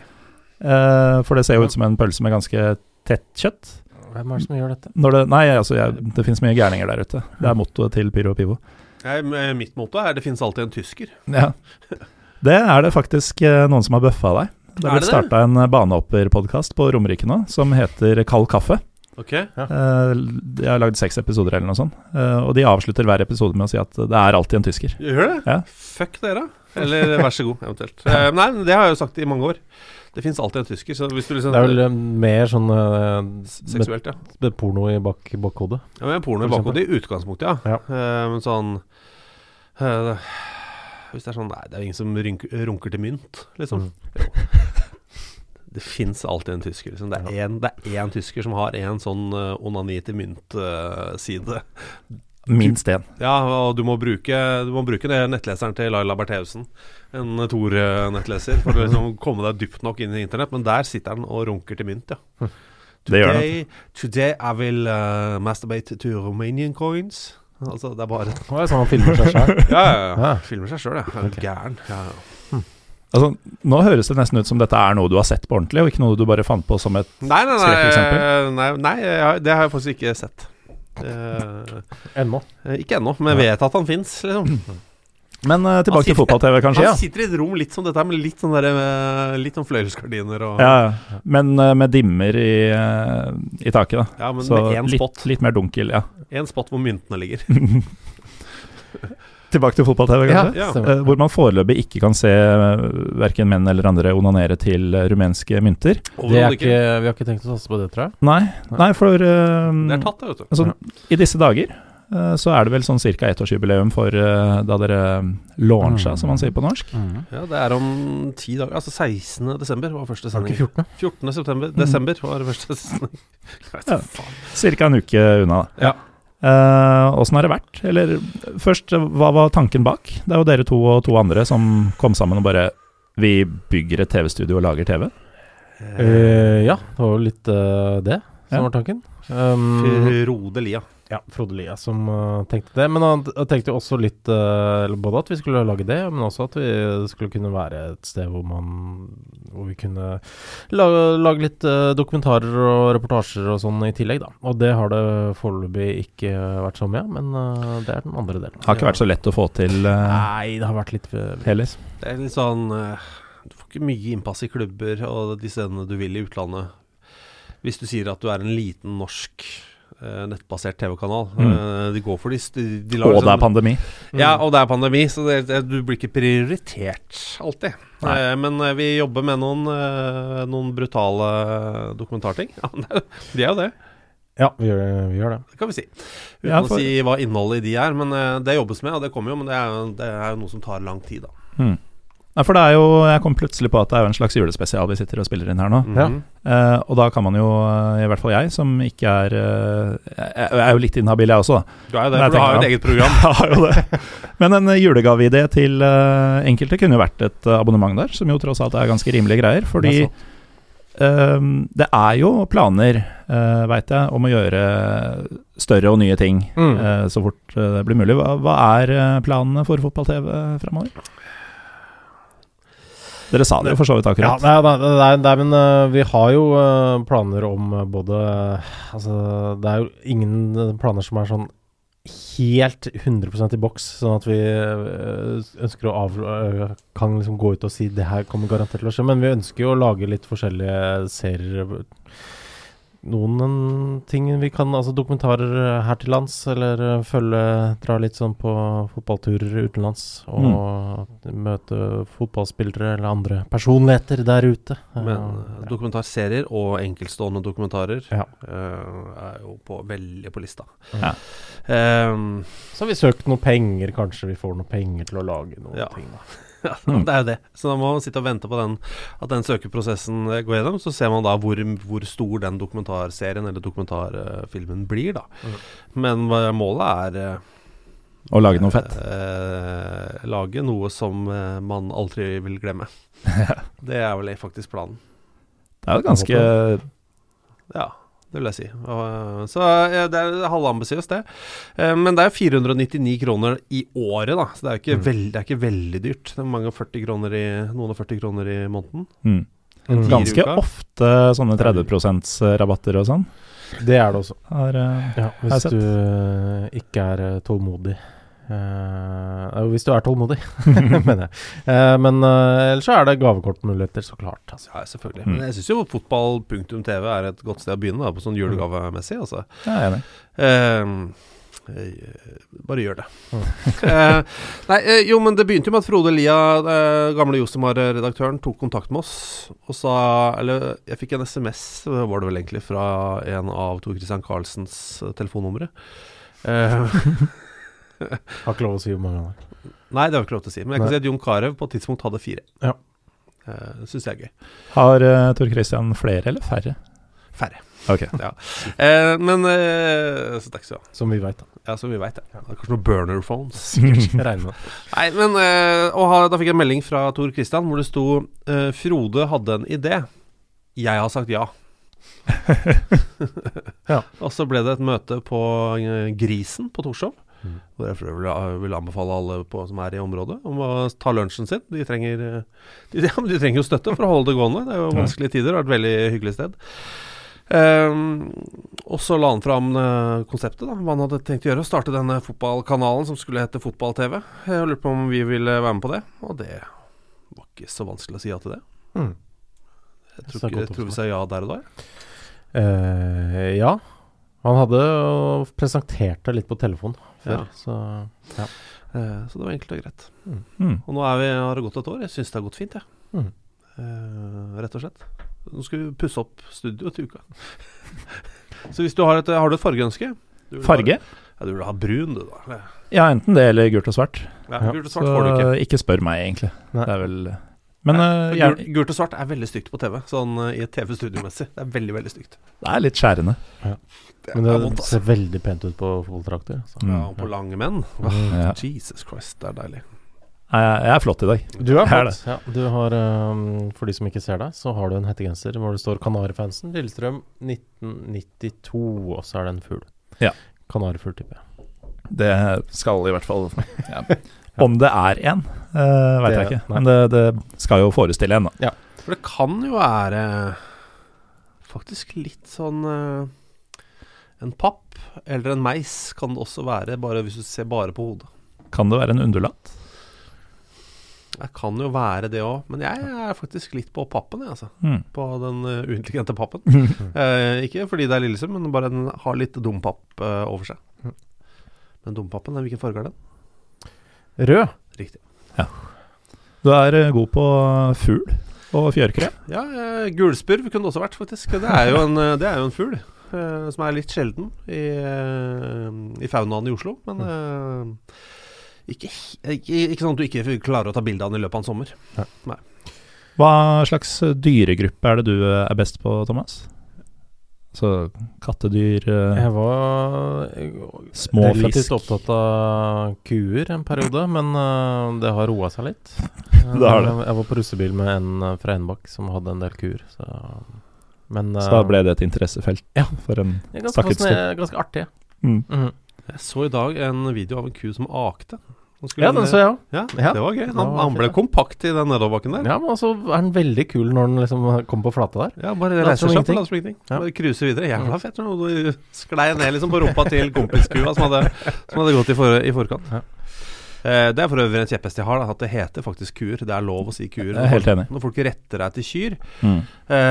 Eh, for det ser jo ut som en pølse med ganske tett kjøtt. Hvem er det som gjør dette? Når det, nei, altså, jeg, det finnes mye gærninger der ute. Det er mottoet til Pyro og Pivo. Nei, men mitt motto er det finnes alltid en tysker. Ja. Det er det faktisk eh, noen som har bøffa deg. Det Er er det blitt starta en banehopperpodkast på Romerike nå som heter Kald kaffe. Ok? Eh, De har lagd seks episoder eller noe sånt, eh, og de avslutter hver episode med å si at det er alltid en tysker. Gjør det? Ja. Fuck dere. Eller vær så god, eventuelt. Eh, nei, men det har jeg jo sagt i mange år. Det finnes alltid en tysker, så hvis du liksom Det er vel eh, mer sånn eh, med, Seksuelt, ja. med porno i bak, bakhodet. Ja, men porno i For bakhodet i utgangspunktet, ja. Ja. Eh, men sånn eh, Hvis det er sånn Nei, det er jo ingen som rynker, runker til mynt, liksom. Mm. Jo. Det fins alltid en tysker. Liksom. Det, er en, det er én tysker som har en sånn eh, onani til eh, mynt-side. Minst én. ja, og du må bruke, du må bruke det nettleseren til Laila Bertheussen, en Tor-nettleser, for å liksom komme deg dypt nok inn i internett. Men der sitter han og runker til mynt, ja. Hm. Det gjør det. Today, today I will uh, masturbate to Romanian coins. Altså, det er bare Det er sånn han filmer seg sjøl. Ja, ja, ja. Ja. Ah. Filmer seg sjøl, ja. Er du Gæren. Ja, ja. Altså, nå høres det nesten ut som dette er noe du har sett på ordentlig, og ikke noe du bare fant på som et Nei, nei, nei, eh, Skrekkeksempel? nei, nei jeg har- det har jeg faktisk ikke sett. Eh, Ennå. ikke ennå, men jeg vet at han fins. Liksom. Men eh, Han tilbake til sitter- fotball-TV, kanskje? ja Han sitter i et rom litt som dette, her, med litt sånn derre, eh, Litt sånn fløyelsgardiner og Ja, ja. men eh, med dimmer i, eh, i taket, da. Ja, men Så med én litt, spot. litt mer dunkel, ja. Én spot hvor myntene ligger. Tilbake til fotball-TV, Ja, kanskje? Ja. stemmer. Eh, hvor man foreløpig ikke kan se verken menn eller andre onanere til eh, rumenske mynter. Det er Overhodet ikke, vi har ikke tenkt å satse på det, tror jeg. Nei, nei for eh, Det er tatt, det, vet du. altså, I disse dager eh, så er det vel sånn ca. ettårsjubileum for eh, da dere launcha, Mm. som man sier på norsk. Ja, det er om ti dager. Altså 16. desember var første Var det sending. ikke 14? 14. September, desember var det første sesongen. Mm. Ja. Ca. en uke unna, da. Eh, Ja. Åssen har det vært? Eller først, eh, hva var tanken bak? Det er jo dere to og to andre som kom sammen og bare Vi bygger et TV-studio og lager TV. Eh, ja, det var jo litt eh, det som Ja. var tanken. Um, mm. Frode Lia. ja, Frode Lia som eh, tenkte det. Men han han tenkte jo også litt eh, eller Både at vi skulle lage det, men også at vi skulle kunne være et sted hvor man Hvor vi kunne lage, lage litt eh, dokumentarer og reportasjer og sånn i tillegg, da. Og det har det foreløpig ikke vært så mye av, men eh, det er den andre delen. Har ikke vært så lett å få til eh, Nei, det har vært litt eh, heller. Det er litt sånn eh, Du får nok mye innpass i klubber og de stedene du vil i utlandet. Hvis du sier at du er en liten norsk eh, nettbasert TV-kanal. Eh, de går for de, st- de, de Og Mm. det liksom- er pandemi. Ja, Mm. og det er pandemi, så det, det, du blir ikke prioritert alltid. Nei. Eh, men eh, vi jobber med noen, eh, noen brutale eh, dokumentarting. Ja, de er jo det, Ja, vi gjør, vi gjør det. det kan vi si. Uten Ja, for- å si hva innholdet i de er. Men eh, det jobbes med, og det kommer jo. Men det er, jo- det er jo noe som tar lang tid, da. Mm. Nei, for det er jo, jeg kom plutselig på at det er jo en slags julespesial vi sitter og spiller inn her nå. Ja. Mhm. Eh, og da kan man jo, eh, i hvert fall jeg, som ikke er eh, Jeg jeg er jo litt inhabil, jeg også. da. Du er jo det, Nei, for du tenker har jo et jeg. eget program. Jeg har jo det. Men en eh, julegaveidé til eh, enkelte kunne jo vært et eh, abonnement der, som jo tross alt er ganske rimelige greier. Fordi Det er eh, det er jo planer, uh, veit jeg, om å gjøre større og nye ting Mm. eh, så fort eh, det blir mulig. Hva, hva er eh, planene for fotball-TV framover? Dere sa det jo for så vidt Ja, akkurat. nei, nei, nei, nei, nei, men eh, vi har jo eh, planer om eh, både eh, Altså, det er jo ingen eh, planer som er sånn helt 100 i boks, sånn at vi eh, ønsker å av... eh, kan liksom gå ut og si det her kommer garantert til å skje, men vi ønsker jo å lage litt forskjellige serier. Noen eh, ting vi kan, altså dokumentarer eh, her til lands, eller eh, følge Dra litt sånn på fotballturer utenlands og Mm. møte fotballspillere eller andre personligheter der ute. Eh, Men eh, dokumentarserier og enkeltstående dokumentarer Ja. eh, er jo på, veldig på lista. Ja. Ehm, Så har vi søkt noen penger, kanskje vi får noen penger til å lage noen Ja. ting, da. Ja, Mm. det er jo det. Så da må man sitte og vente på den, at den søkeprosessen eh, går gjennom. Så ser man da hvor, hvor stor den dokumentarserien eller dokumentarfilmen blir, da. Men eh, målet er Og lage noe eh, fett. eh, lage noe som eh, man aldri vil glemme. det er vel faktisk planen. Det er jo ganske Ja, det vil jeg si. Og, eh, så eh, det er halvambisiøst, det. Eh, Men det er 499 kroner i året, da. Så det er jo ikke, veld, det er ikke veldig dyrt. Det er mange og 40 kroner i, noen og 40 kroner i måneden. mm. Mm. Ganske Fire uker. ofte sånne 30 %-rabatter og sånn. Det er det også. Er, eh, Ja, Har jeg hvis sett. du eh, ikke er eh, tålmodig. Eh, jo, hvis du er tålmodig, mener jeg. Eh, men eh, ellers så er det gavekortmuligheter, så klart. Altså. Ja, selvfølgelig. Mm. Men jeg syns jo fotball.tv er et godt sted å begynne, da, på Mm. sånn julegavemessig, altså. jeg er enig. Ehm, eh, bare gjør det. Mm. Eh, nei, eh, jo, men det begynte jo med at Frode Lia, eh, gamle Josemar-redaktøren, tok kontakt med oss og sa Eller jeg fikk en SMS, var det vel egentlig, fra en av Tor Christian Carlsens eh, telefonnumre. Eh, Har ikke lov å si hvor mange ganger. nei, det har jeg ikke lov til å si, men jeg kan Nei. si at Jon Carew på et tidspunkt hadde fire. Ja. Eh, Det syns jeg er gøy. Har eh, Tor Christian flere eller færre? Færre. Ok. Eh, men eh, Så takk skal du ha. Som vi veit, da. Ja, som vi veit, ja. Det er Kanskje noen burner phones. Jeg regner med det. Nei, men eh, og ha, Da fikk jeg en melding fra Tor Christian hvor det sto eh, 'Frode hadde en idé'. Jeg har sagt ja. Ja. Og så ble det et møte på eh, Grisen på Torshov. Hvor jeg for øvrig vil, vil anbefale alle på, som er i området, om å ta lunsjen sin. De trenger, eh, de, ja, men de trenger jo støtte for å holde det gående. Det er jo Ja. vanskelige tider. Det har vært et veldig hyggelig sted. Ehm, og så la han fram eh, konseptet, da, hva han hadde tenkt å gjøre. å Starte denne fotballkanalen som skulle hete Fotball-TV. Jeg lurte på om vi ville være med på det, og det var ikke så vanskelig å si ja til det. Mm. Så Jeg tror, det er ikke, godt jeg tror vi sa ja der og da. Eh, ja. Han hadde jo presentert det litt på telefon før, Ja. så Eh, Så det var enkelt og greit. Mm. Og nå er vi, har det gått et år. Jeg syns det har gått fint, jeg. Mm. Eh, rett og slett. Nå skal vi pusse opp studioet til uka. Så hvis du har et, har du et fargeønske Du vil Farge? Ha, ja, du vil ha brun, du, da. Ja, enten det eller gult og svart. Ja, Ja. Gult og Så svart får du ikke. ikke. spør meg, egentlig. Nei. Det er vel Men Nei, eh, for jeg, gult, gult og svart er veldig stygt på TV, sånn eh, i TV-studiomessig. Det er veldig, veldig stygt. det er litt skjærende. Det Men er vondt, det altså. ser veldig pent ut på Mm. fotballdrakter. altså. Mm. Ja, og på lange menn. Ah. Ja. Jesus Christ, det er deilig. Nei, Jeg, jeg er flott i dag. Du er Er flott. Ja, du har, ehm, for de som ikke ser deg, så har du en hettegenser hvor det står Kanarifansen, Lillestrøm 1992, og så er det en fugl. Ja. Kanarifugl, tipper jeg. Det skal i hvert fall ja. Om det er en, uh, veit jeg Det- ikke. Men det, det skal jo forestille en, da. For det kan jo være faktisk litt sånn eh, En papp eller en meis kan det også være, bare hvis du ser bare på hodet. Kan det være en undulat? Det kan jo være det òg, men jeg er faktisk litt på pappen, jeg, altså. Mm. På den eh, uintelligente pappen. Mm. Eh, ikke fordi det er Lillesund, men bare den har litt dompapp eh, over seg. Mm. Men dompappen, hvilken farge er den? Rød. Riktig. Du er eh, god på fugl og fjørkre. Ja, eh, gulspurv kunne det også vært, faktisk. Det er jo en, eh, det er jo en fugl eh, som er litt sjelden i, eh, i faunaen i Oslo. Men Mm. eh, ikke, he- ikke, ikke sånn at du ikke klarer å ta bilde av den i løpet av en sommer. Hva slags eh, dyregruppe er det du eh, er best på, Thomas? Så kattedyr, eh, Jeg var eh, små relativt fisk opptatt av kuer en periode, men eh, det har roa seg litt. Det har det. Jeg, jeg var på russebil med en eh, fra Enbakk som hadde en del kuer, så Men Så da ble det et interessefelt Ja. for en det ganske, stakk et fascine- ganske artig. Mm. Mhm. Jeg så i dag en video av en ku som akte. Han skulle Ja, den ned- eh, så jeg òg. Ja, Ja. det var gøy. Det Han, var han ble fint, kompakt i den nedoverbakken der. Ja, Ja, men altså er den veldig kul når den liksom kommer på flate der. bare Later reiser som seg opp ingenting. og later som ingenting. Ja. Bare cruiser videre. Mm. Jævla fett. Og du sklei ned liksom på rumpa til kompiskua som hadde, som hadde gått i, for, i forkant. Ja. Eh, det er for øvrig en kjepphest jeg har, da, at det heter faktisk kuer. Det er lov å si kuer. Jeg er helt enig. Når folk retter deg til kyr, Mm.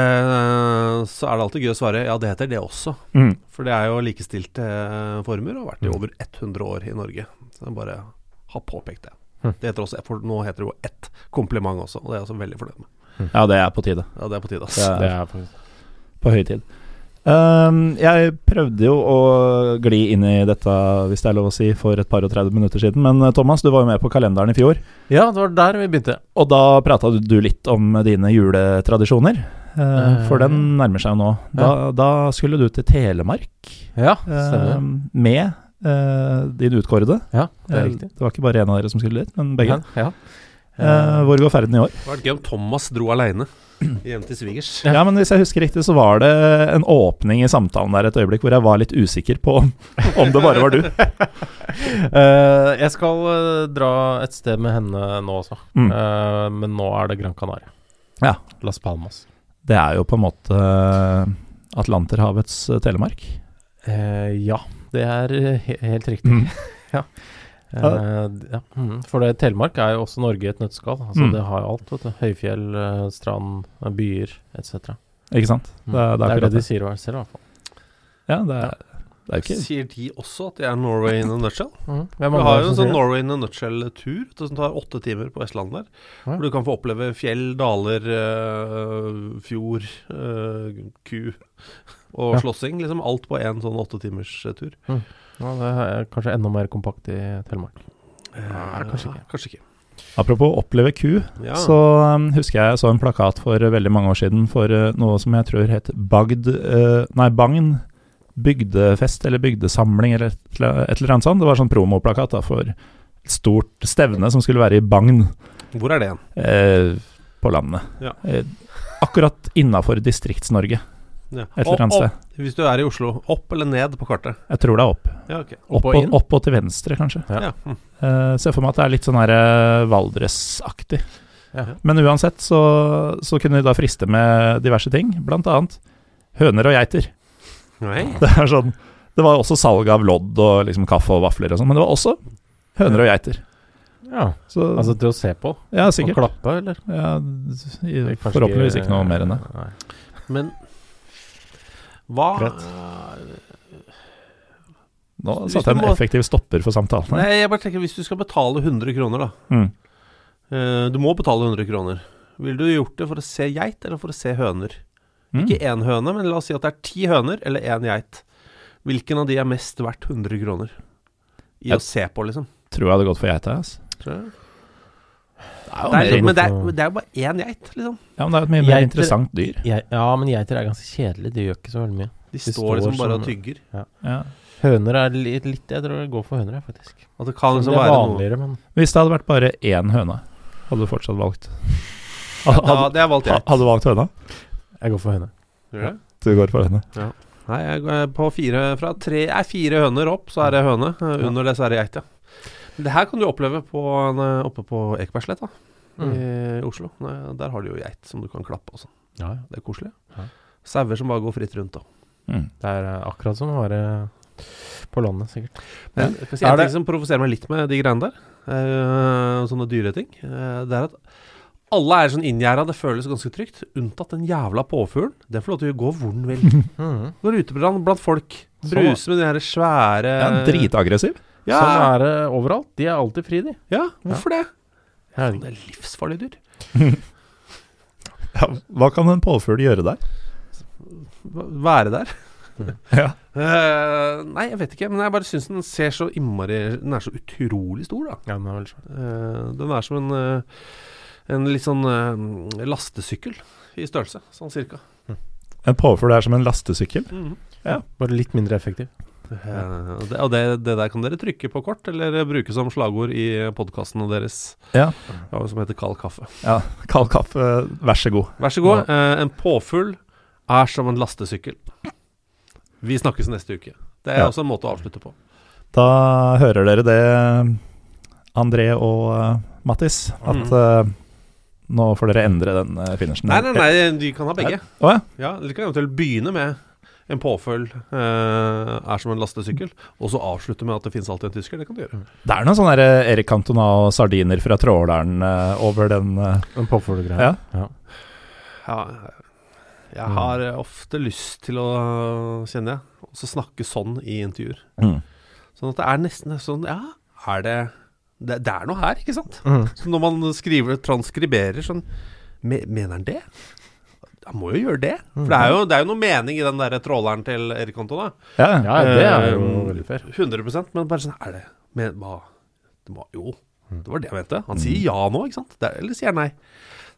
eh, så er det alltid gøy å svare ja, det heter det også. Mm. For det er jo likestilte eh, former og har vært i over 100 år i Norge. Så jeg bare har påpekt det. Hm. Det heter også, for Nå heter det jo ett kompliment også, og det er jeg også veldig fornøyd med. Ja, det er på tide. Ja, Det er på tide, ass. Det er er faktisk på høy tid. Ehm, jeg prøvde jo å gli inn i dette, hvis det er lov å si, for et par og 30 minutter siden. Men eh, Thomas, du var jo med på kalenderen i fjor, Ja, det var der vi begynte. og da prata du- du litt om dine juletradisjoner. Eh, Eh, for den nærmer seg jo nå. Da, da skulle du til Telemark Ja, eh, stemmer. med eh, din utkårede. ja, det er Eh, riktig. det var ikke bare én av dere som skulle dit, men begge. Ja, ja. Eh, hvor går ferden i år? Det hadde vært gøy om Thomas dro aleine hjem til svigers. Ja. men hvis jeg husker riktig, så var det en åpning i samtalen der et øyeblikk hvor jeg var litt usikker på om, om det bare var du. Eh, jeg skal eh, dra et sted med henne nå også, Mm. Eh, men nå er det Gran Canaria. Ja. Las Palmas. Det er jo på en måte eh, Atlanterhavets eh, Telemark. Eh, ja, det er eh, he helt riktig. Mm. ja. Eh, d- ja. Mm. For det, Telemark er jo også Norge i et nøtteskall. Altså, Mm. Det har jo alt. vet du Høyfjell, eh, strand, eh, byer etc. Ikke sant? Mm. Det, er- det er akkurat det de det. sier hver selv, i hvert fall. Ja, det er, det er jo ikke Sier de også at de er Norway in a nutshell? Mm. Vi har jo en sånn Norway in a nutshell-tur som tar åtte timer på Vestlandet der. Ja. Hvor du kan få oppleve fjell, daler, øh, fjord, øh, ku og Ja. slåssing. Liksom alt på én sånn åtte timers eh, tur. ja, det er kanskje enda mer kompakt i Telemark. Eh, kanskje ikke. Kanskje ikke. Apropos oppleve ku, Ja. så um, husker jeg jeg så en plakat for eh, veldig mange år siden for eh, noe som jeg tror het Bagd eh, Nei, Bagn bygdefest eller bygdesamling eller et eller et eller annet sånt. Det var sånn promoplakat da for et stort stevne som skulle være i Bagn. Hvor er det igjen? eh, på landet. Ja. Eh, akkurat innafor Distrikts-Norge, Ja. et eller Opp- annet sted. opp, hvis du er i Oslo, opp eller ned på kartet? Jeg tror det er opp. Ja, ok. Opp og, opp og til venstre, kanskje. Ja. Ja. mm. Eh, ser for meg at det er litt sånn her eh, Valdres-aktig. Ja. Men uansett så, så kunne de da friste med diverse ting, blant annet høner og geiter. Nei. Det er sånn Det var også salg av lodd og liksom kaffe og vafler og sånn, men det var også høner og geiter. Ja, Så altså til å se på ja, og sikkert. klappe, eller? Ja, i- Kanskje forhåpentligvis ikke noe mer enn det. Nei. Men hva Nå Hvis satte jeg du en må- effektiv stopper for samtalen. her. Nei, jeg bare tenker hvis du skal betale 100 kroner, da. Mm. Eh, Du må betale 100 kroner. Ville du gjort det for å se geit eller for å se høner? Mm. Ikke én høne, men la oss si at det er ti høner eller én geit. Hvilken av de er mest verdt 100 kroner? I Jeg- å se på, liksom. Tror jeg hadde gått for geita. ass. Tror jeg. Det mer er, liksom, men det er for- det er jo bare én geit, liksom. Ja, men det er et mye mer Geiter- interessant dyr. Jeg, ja, men geiter er ganske kjedelig. De gjør ikke så veldig mye. De De står, står liksom som- bare og tygger. Ja. Høner er litt, litt Jeg tror jeg går for høner, jeg, faktisk. At det kan Det liksom er være noe vanligere, men Hvis det hadde vært bare én høne, hadde du fortsatt valgt Ja, Hadde, hadde, det har jeg valgt geit. hadde du valgt høna? jeg går for høne. Gjør du det? Du går for henne. Nei, jeg går eh, på fire fra tre Er fire høner opp, så er det høne. Eh, Under det så er det geit, ja. Men Det her kan du oppleve på, en, eh, oppe på Ekebergsletta Eh, i Oslo. Nei, Der har de jo geit som du kan klappe og sånn. Ja, ja. Det er koselig. Ja. Sauer som bare går fritt rundt. Da. Mm. Det er eh, akkurat som å være på landet, sikkert. Men, jeg skal si, en Er det- ting som provoserer meg litt med de greiene der, eh, sånne dyreting, eh, det er at alle er sånn inngjerda, det føles ganske trygt. Unntatt den jævla påfuglen. Den får lov til å gå hvor den vil. Mhm. Går ute blant, blant folk. Bruser med de her svære Ja, Dritaggressiv. Ja, Sånn er det overalt. De er alltid fri, de. ja hvorfor det? Jeg vet Det er livsfarlige dyr. Ja, hva kan en påfugl gjøre der? Hva- Være der. Ja. Eh, nei, jeg vet ikke, men jeg bare syns den ser så innmari Den er så utrolig stor, da. ikke. Ja, den er veldig svær. Eh, den er som en, eh, en litt sånn eh, lastesykkel i størrelse, sånn cirka. En påfugl er som en lastesykkel. Bare litt mindre effektiv. Eh, og det, og det, det der kan dere trykke på kort, eller bruke som slagord i podkastene deres, Ja. ja, som heter Kald kaffe. ja. Kald kaffe, vær så god. Vær så god. Eh, en påfugl er som en lastesykkel. Vi snakkes neste uke. Det er Ja. også en måte å avslutte på. Da hører dere det, André og eh, Mattis, at eh, nå får dere endre den eh, finishen. Nei, nei, nei, de kan ha begge. Å ja. Ja, Dere kan eventuelt begynne med en påfølg eh, er som en lastesykkel, og så avslutte med at det finnes alltid en tysker. Det kan du gjøre. Det er noe sånn der, eh, Erik Cantona og sardiner fra Trådalen eh, over den eh, En påfuglegreie. Ja. Ja, jeg har eh, ofte lyst til å, kjenner jeg, også snakke sånn i intervjuer. Mm. Sånn at det er nesten sånn Ja, er det Det, det er noe her, ikke sant? Mhm. Så når man skriver transkriberer sånn me, Mener han det? Han må jo gjøre det. For det er jo, det er jo noe mening i den der tråleren til Erik Cantona. Ja, ja. Ja, det er jo Eh, veldig fair. 100 men bare sånn Er det men, hva? Det var, Jo, det var det jeg mente. Han sier ja nå, ikke sant? Det, er- eller sier han nei?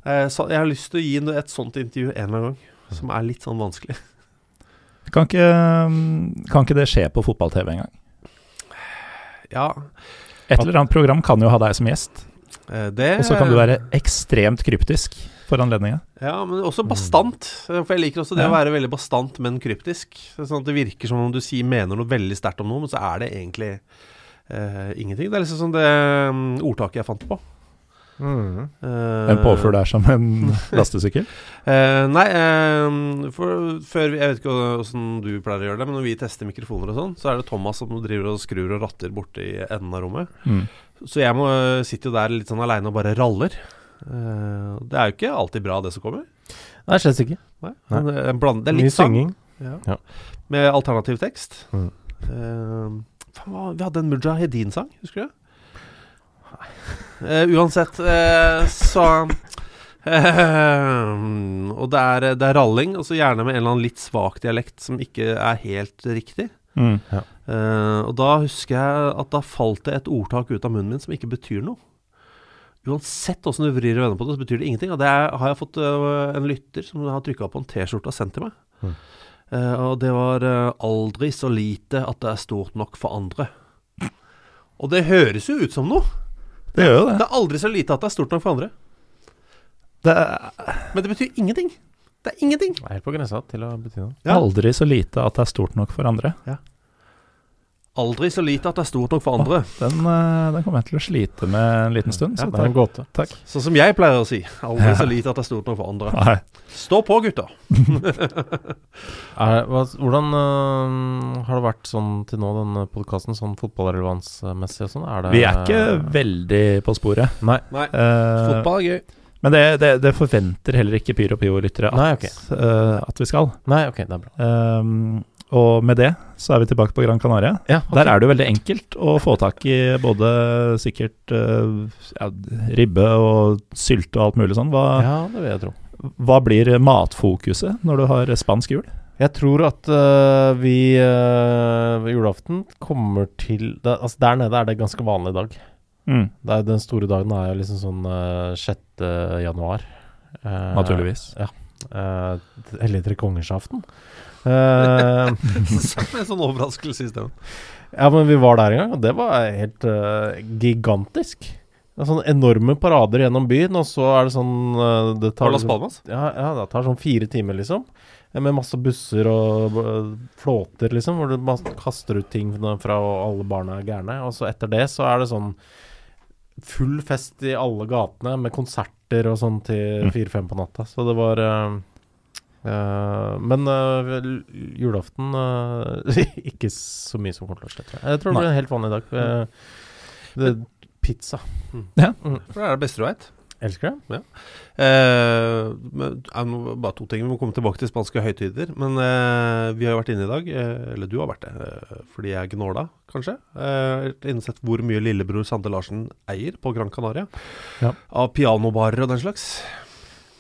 Eh, så jeg har lyst til å gi noe- et sånt intervju en eller annen gang, som er litt sånn vanskelig. Kan, ikke, mm, kan ikke det skje på fotball-TV engang? Ja, Et eller annet program kan jo ha deg som gjest, eh, det og så kan du være ekstremt kryptisk for anledningen. Ja, men også bastant. eh, For jeg liker også det å Mm. Ja. være veldig bastant, men kryptisk. Sånn at det virker som om du sier mener noe veldig sterkt om noe, men så er det egentlig eh, ingenting. Det er liksom sånn det mm, ordtaket jeg fant på. Mhm. Eh, En påfugl er som en lastesykkel. Eh, nei, eh, for, før vi, Jeg vet ikke åssen du pleier å gjøre det, men når vi tester mikrofoner og sånn, så er det Thomas som driver og skrur og ratter borte i enden av rommet. Mm. Så jeg må, sitter jo der litt sånn aleine og bare raller. Eh, det er jo ikke alltid bra, det som kommer. Nei, slett ikke. Nei. Nei. Men, eh, bland, det er Mye litt sang synging. med alternativ tekst. Mm. Eh, faen, hva, vi hadde en Mujahedin-sang, husker du det? Eh, uansett, eh, så eh, Og det er, det er ralling, og så gjerne med en eller annen litt svak dialekt som ikke er helt riktig. Mm. Eh, og da husker jeg at da falt det et ordtak ut av munnen min som ikke betyr noe. Uansett åssen du vrir og vender på det, så betyr det ingenting. Og det er, har jeg fått øh, en lytter som har trykka på en T-skjorte og sendt til meg. Eh, og det var eh, 'aldri så lite at det er stort nok for andre'. Og det høres jo ut som noe. Det gjør jo det. Det er aldri så lite at det er stort nok for andre. Det er Men det betyr ingenting. Det er ingenting. Det er Helt på grensa til å bety noe. Ja. aldri så lite at det er stort nok for andre. Aldri så lite at det er stort nok for andre. Den, eh, den kommer jeg til å slite med en liten stund. Så Det er en takk. gåte. takk. Sånn som jeg pleier å si. Aldri så lite at det er stort nok for andre. Nei. Stå på, gutter. Er, hva, hvordan øh, har det vært sånn til nå, denne podkasten, sånn fotballrelevansmessig og sånn? Er det Vi er ikke veldig på sporet. Nei. Nei. Eh, Fotball er gøy. men det, det, det forventer heller ikke Pyro Pio-lyttere at, Nei, ok. eh, at vi skal. Nei, ok, det er bra. Ehm, og med det så er vi tilbake på Gran Canaria. Ja, ok. Der er det jo veldig enkelt å få tak i både sikkert eh, ja, ribbe og sylte og alt mulig sånn. Hva, Ja, det vil jeg tro. hva blir matfokuset når du har spansk jul? Jeg tror at øh, vi øh, ved julaften kommer til det, Altså, der nede er det ganske vanlig dag. Det er, den store dagen er jo liksom sånn øh, 6. januar. Eh, Naturligvis. eh, Hellig tre kongersaften. Eh, Med en sånn overraskelse i stedet. Ja, men vi var der en gang, og det var helt eh, gigantisk. Det er sånne enorme parader gjennom byen, og så er det sånn eh, det tar, Var Las liksom- Palmas? Ja, ja, det tar sånn fire timer, liksom. eh, Med masse busser og eh, flåter, liksom, hvor du mas- kaster ut ting fra, og alle barna er gærne. Og så etter det så er det sånn full fest i alle gatene, med konserter og sånn til Mm. fire-fem på natta. Så det var eh, Eh, men eh, vel, julaften eh, Ikke så mye som kommer til å skje, tror jeg. Jeg tror det blir en helt vanlig dag. Eh, det, pizza. For det er det beste du veit. Elsker det. Eh, men, ja, nå bare to ting. Vi må komme tilbake til spanske høytider. Men eh, vi har jo vært inne i dag, eh, eller du har vært det, eh, fordi jeg gnåla, kanskje. Eh, innsett hvor mye lillebror Sande Larsen eier på Gran Canaria. Ja. Av pianobarer og den slags.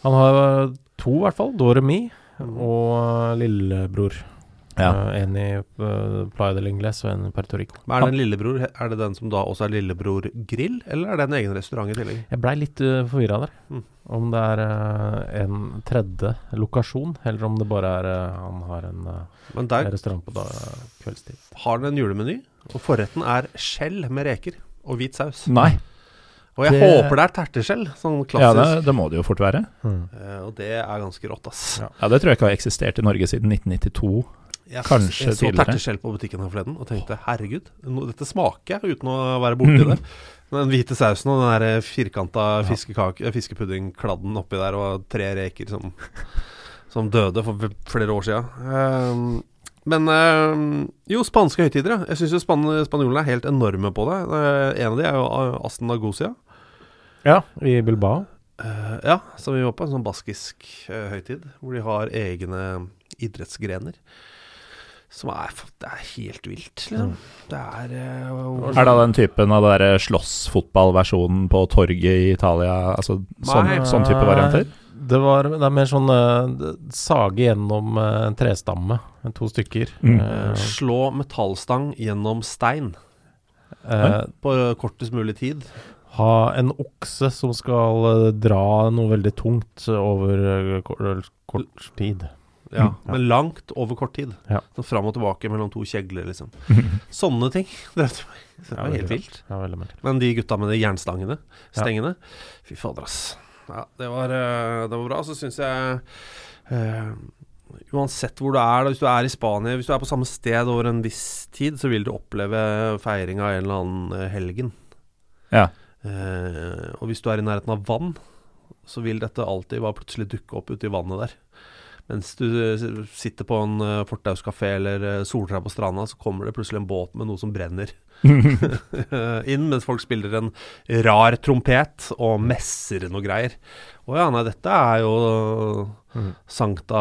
Han har eh, to, i hvert fall. Doremi og eh, lillebror. Ja. Eh, en i uh, Playa del Ingles og en i Puerto Rico. Men er den lillebror Er det den som da også er Lillebror Grill, eller er det en egen restaurant i tillegg? Jeg blei litt uh, forvirra der. Mm. Om det er eh, en tredje lokasjon, eller om det bare er eh, han har en eh, Men der restaurant på da, kveldstid. har den en julemeny, og forretten er skjell med reker og hvit saus. Nei. Og jeg Det- håper det er terteskjell, sånn Ja, det, klassisk. det må det jo fort være. Eh, og det er ganske rått, ass. Ja. Ja, Det tror jeg ikke har eksistert i Norge siden 1992. Jeg, s- Kanskje jeg så tidligere. terteskjell på butikken her forleden og tenkte herregud, nå, dette smaker jeg uten å være borti Mm. det. Den hvite sausen og den der firkanta fiskekake- eh, fiskepuddingkladden oppi der og tre reker som, som døde for v- flere år sia. men ehm, jo, spanske høytider, ja. Jeg syns jo span spanjolene er helt enorme på det. Eh, en av de er jo eh, Aston Agosia. Ja, i Bilbao. Eh, ja, som vi var på, en sånn baskisk eh, høytid, hvor de har egne idrettsgrener. Som er, f- det er helt vilt, liksom. Det er eh, hvor- Er det den typen av det der slåssfotballversjonen på torget i Italia? Altså sånn, Nei. sånn type varianter? Det, var, det er mer sånn eh, d- sage gjennom eh, en trestamme, to stykker. Mm. Eh, Slå metallstang gjennom stein eh, på kortest mulig tid. ha en okse som skal eh, dra noe veldig tungt over eh, kort, kort tid. Ja, Ja. Men langt over kort tid. Ja. Så fram og tilbake mellom to kjegler, liksom. Sånne ting. Det var- det var helt vilt. Ja, veldig merkelig. Men de gutta med de jernstangene, Ja. stengene Fy fader, ass. Ja, det var, eh, det var bra. Så syns jeg eh, Uansett hvor du er, da, hvis du er i Spania Hvis du er på samme sted over en viss tid, så vil du oppleve feiring av en eller annen eh, helgen. Ja. Eh, og hvis du er i nærheten av vann, så vil dette alltid bare plutselig dukke opp ute i vannet der. Mens du eh, sitter på en eh, fortauskafé eller eh, soltrær på stranda, så kommer det plutselig en båt med noe som brenner inn, mens folk spiller en rar trompet og messer noe greier. Å ja, nei, dette er jo Mm. Mhm. Sankta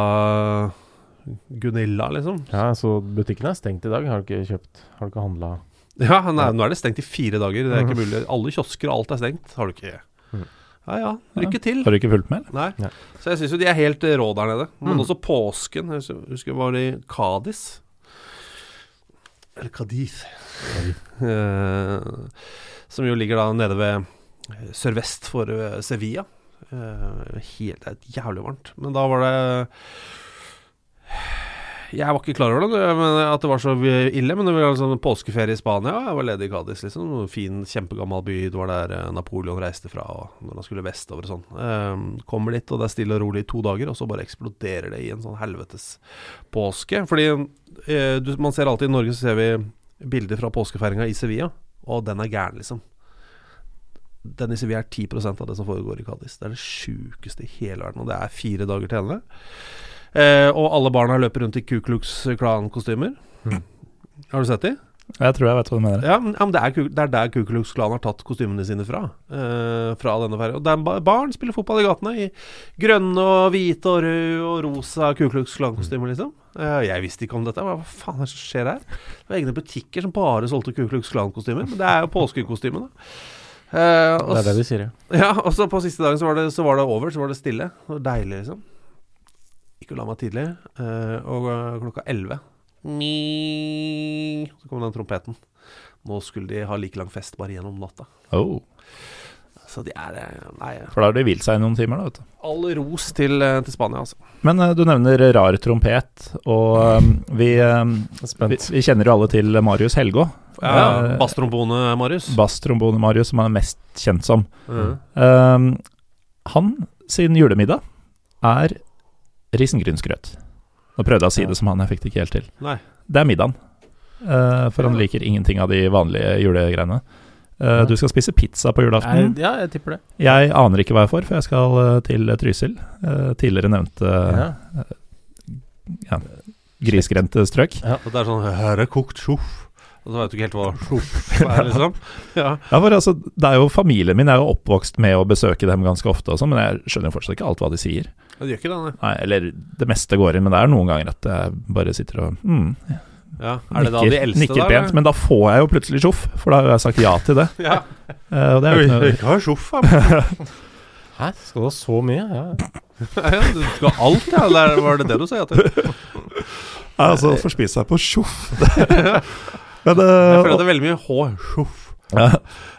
Gunilla, liksom. Ja, så butikken er stengt i dag. Har du ikke kjøpt? Har du ikke handla? Ja, Mm. nei, nå er det stengt i fire dager. Det er ikke mulig. Alle kiosker og alt er stengt. Har du ikke Mhm. Ja Mm. ja, lykke til. Har du ikke fulgt med? eller? Nei. Nei. Så jeg syns jo de er helt eh, rå der nede. Men Mm. også påsken. Jeg hus- husker jeg var i Kadis. Eller Kadis. Eh, som jo ligger da nede ved eh, sørvest for eh, Sevilla. Eh, helt, det er jævlig varmt. Men da var det Jeg var ikke klar over det, men at det var så ille. Men det var altså en påskeferie i Spania, og jeg var ledig i Cádiz. Liksom. En Fin, kjempegammel by. Det var der eh, Napoleon reiste fra og når han skulle vestover og sånn. Eh, kommer dit, og det er stille og rolig i to dager, og så bare eksploderer det i en sånn helvetes påske. Fordi eh, du, man ser alltid i Norge, så ser vi bilder fra påskefeiringa i Sevilla, og den er gæren, liksom. Den i Sevilla er 10 av det som foregår i Cádiz. Det er det sjukeste i hele verden, og det er fire dager til ende. Eh, og alle barna løper rundt i Ku Klux Klan-kostymer. Mm. Har du sett de? Jeg tror jeg vet hva du mener. Ja, men, ja, men det, er, Ku- det er der Ku Klux Klan har tatt kostymene sine fra. Eh, fra denne ferja. Og der ba barn spiller fotball i gatene. I grønne og hvite og røde og rosa Ku Klux Klan-kostymer, liksom. Eh, jeg visste ikke om dette. Hva faen er det som skjer her? Det var egne butikker som bare solgte Ku Klux Klan-kostymer. Men det er jo påskekostymene. Eh, og Det er det de sier, ja. ja, og så på siste dagen så var det, så var det over, så var det stille. Det var deilig, liksom. Ikke la meg tidlig. eh, og eh, klokka elleve Ming. Så kom den trompeten. Nå skulle de ha like lang fest bare gjennom natta. Oh, Så de er eh, Nei, for da har de hvilt seg i noen timer, da. vet du. all ros til, eh, til Spania, altså. Men eh, du nevner rar trompet, og eh, vi, eh, vi, Spent. vi kjenner jo alle til Marius Helgå. Ja, Eh, Basstrombone, Marius. Basstrombone Marius, som han er mest kjent som. Mhm. Um, han sin julemiddag er risengrynsgrøt. Nå prøvde jeg å si det som han, jeg fikk det ikke helt til. Nei. Det er middagen. Uh, for han Ja. liker ingenting av de vanlige julegreiene. Uh, Ja. du skal spise pizza på Nei, julaften. ja, jeg tipper det. Jeg aner ikke hva jeg får, for jeg skal uh, til Trysil. Uh, tidligere nevnte Ja. uh, grisgrendte strøk. Og det er sånn Her er kokt tjoff. Og så veit du ikke helt hva slump er, liksom. Ja. Ja, for altså, det er jo Familien min er jo oppvokst med å besøke dem ganske ofte, og sånn, men jeg skjønner jo fortsatt ikke alt hva de sier. Det gjør ikke det, nei. Nei, eller det meste går inn, men det er noen ganger at jeg bare sitter og mm, Ja. Er det da de eldste, nikker da? pent. Men da får jeg jo plutselig sjoff, for da har jeg sagt ja til det. Ja. Eh, og det er jo ikke Oi, noe ikke ha sjoff, da. Hæ, skal du ha så mye? Ja. Ja, du skal ha alt, ja. Eller var det det du sa ja til? Nei, Altså, å få spise seg på sjoff Men Jeg føler eh, at det er veldig mye H. Sjoff. ja,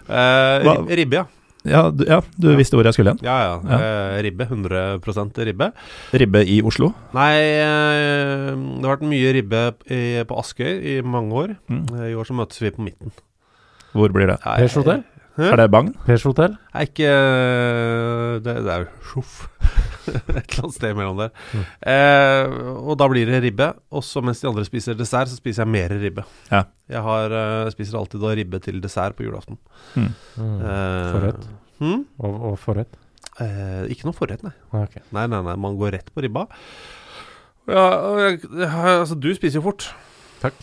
Eh, ri- Hva- ribbe, ja. ja, du, ja, du visste hvor jeg skulle hen. Ja, ja. Ja. Eh, ribbe. 100 ribbe. Ribbe i Oslo. Nei, eh, det har vært mye ribbe i, på Askøy i mange år. Mm. Eh, I år så møtes vi på midten. Hvor blir det? Nei, Pers hotell? Er det Bagn? Pers hotell? Nei, ikke eh, Det, det er jo sjoff. Et eller annet sted mellom der. Mm. Eh, og da blir det ribbe. Og så mens de andre spiser dessert, så spiser jeg mer ribbe. Ja. Jeg har, eh, spiser alltid da ribbe til dessert på julaften. Mm. Eh, Forrett? hm? Og, og forrett? Eh, ikke noe forrett, nei. Ah, ok. Nei, nei, nei, man går rett på ribba. Ja, og jeg, jeg- altså, du spiser jo fort. Takk.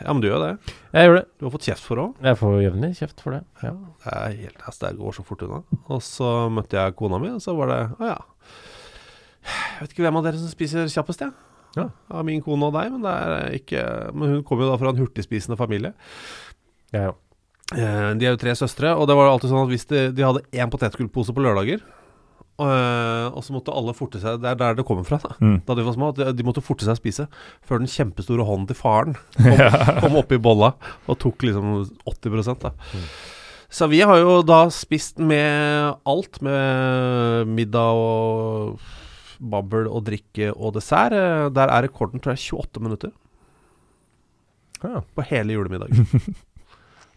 Ja, men du gjør det. Jeg gjør det. Du har fått kjeft for det òg. Jeg får jevnlig kjeft for det. Ja. Det er helt altså, det går så fort unna. Og så møtte jeg kona mi, og så var det Å ja. Jeg vet ikke hvem av dere som spiser kjappest, jeg. Ja. Av min kone og deg, men det er ikke Men hun kommer jo da fra en hurtigspisende familie. Jeg òg. Eh, De er jo tre søstre, og det var jo alltid sånn at hvis de, de hadde én potetgullpose på lørdager, eh, og så måtte alle forte seg Det er der det kommer fra, da. Mm. Da de var små, at de måtte forte seg å spise før den kjempestore hånden til faren kom, kom oppi bolla og tok liksom 80 da. Så vi har jo da spist med alt, med middag og babbel og drikke og dessert. Eh, Der er rekorden, tror jeg, 28 minutter Ja. på hele julemiddagen.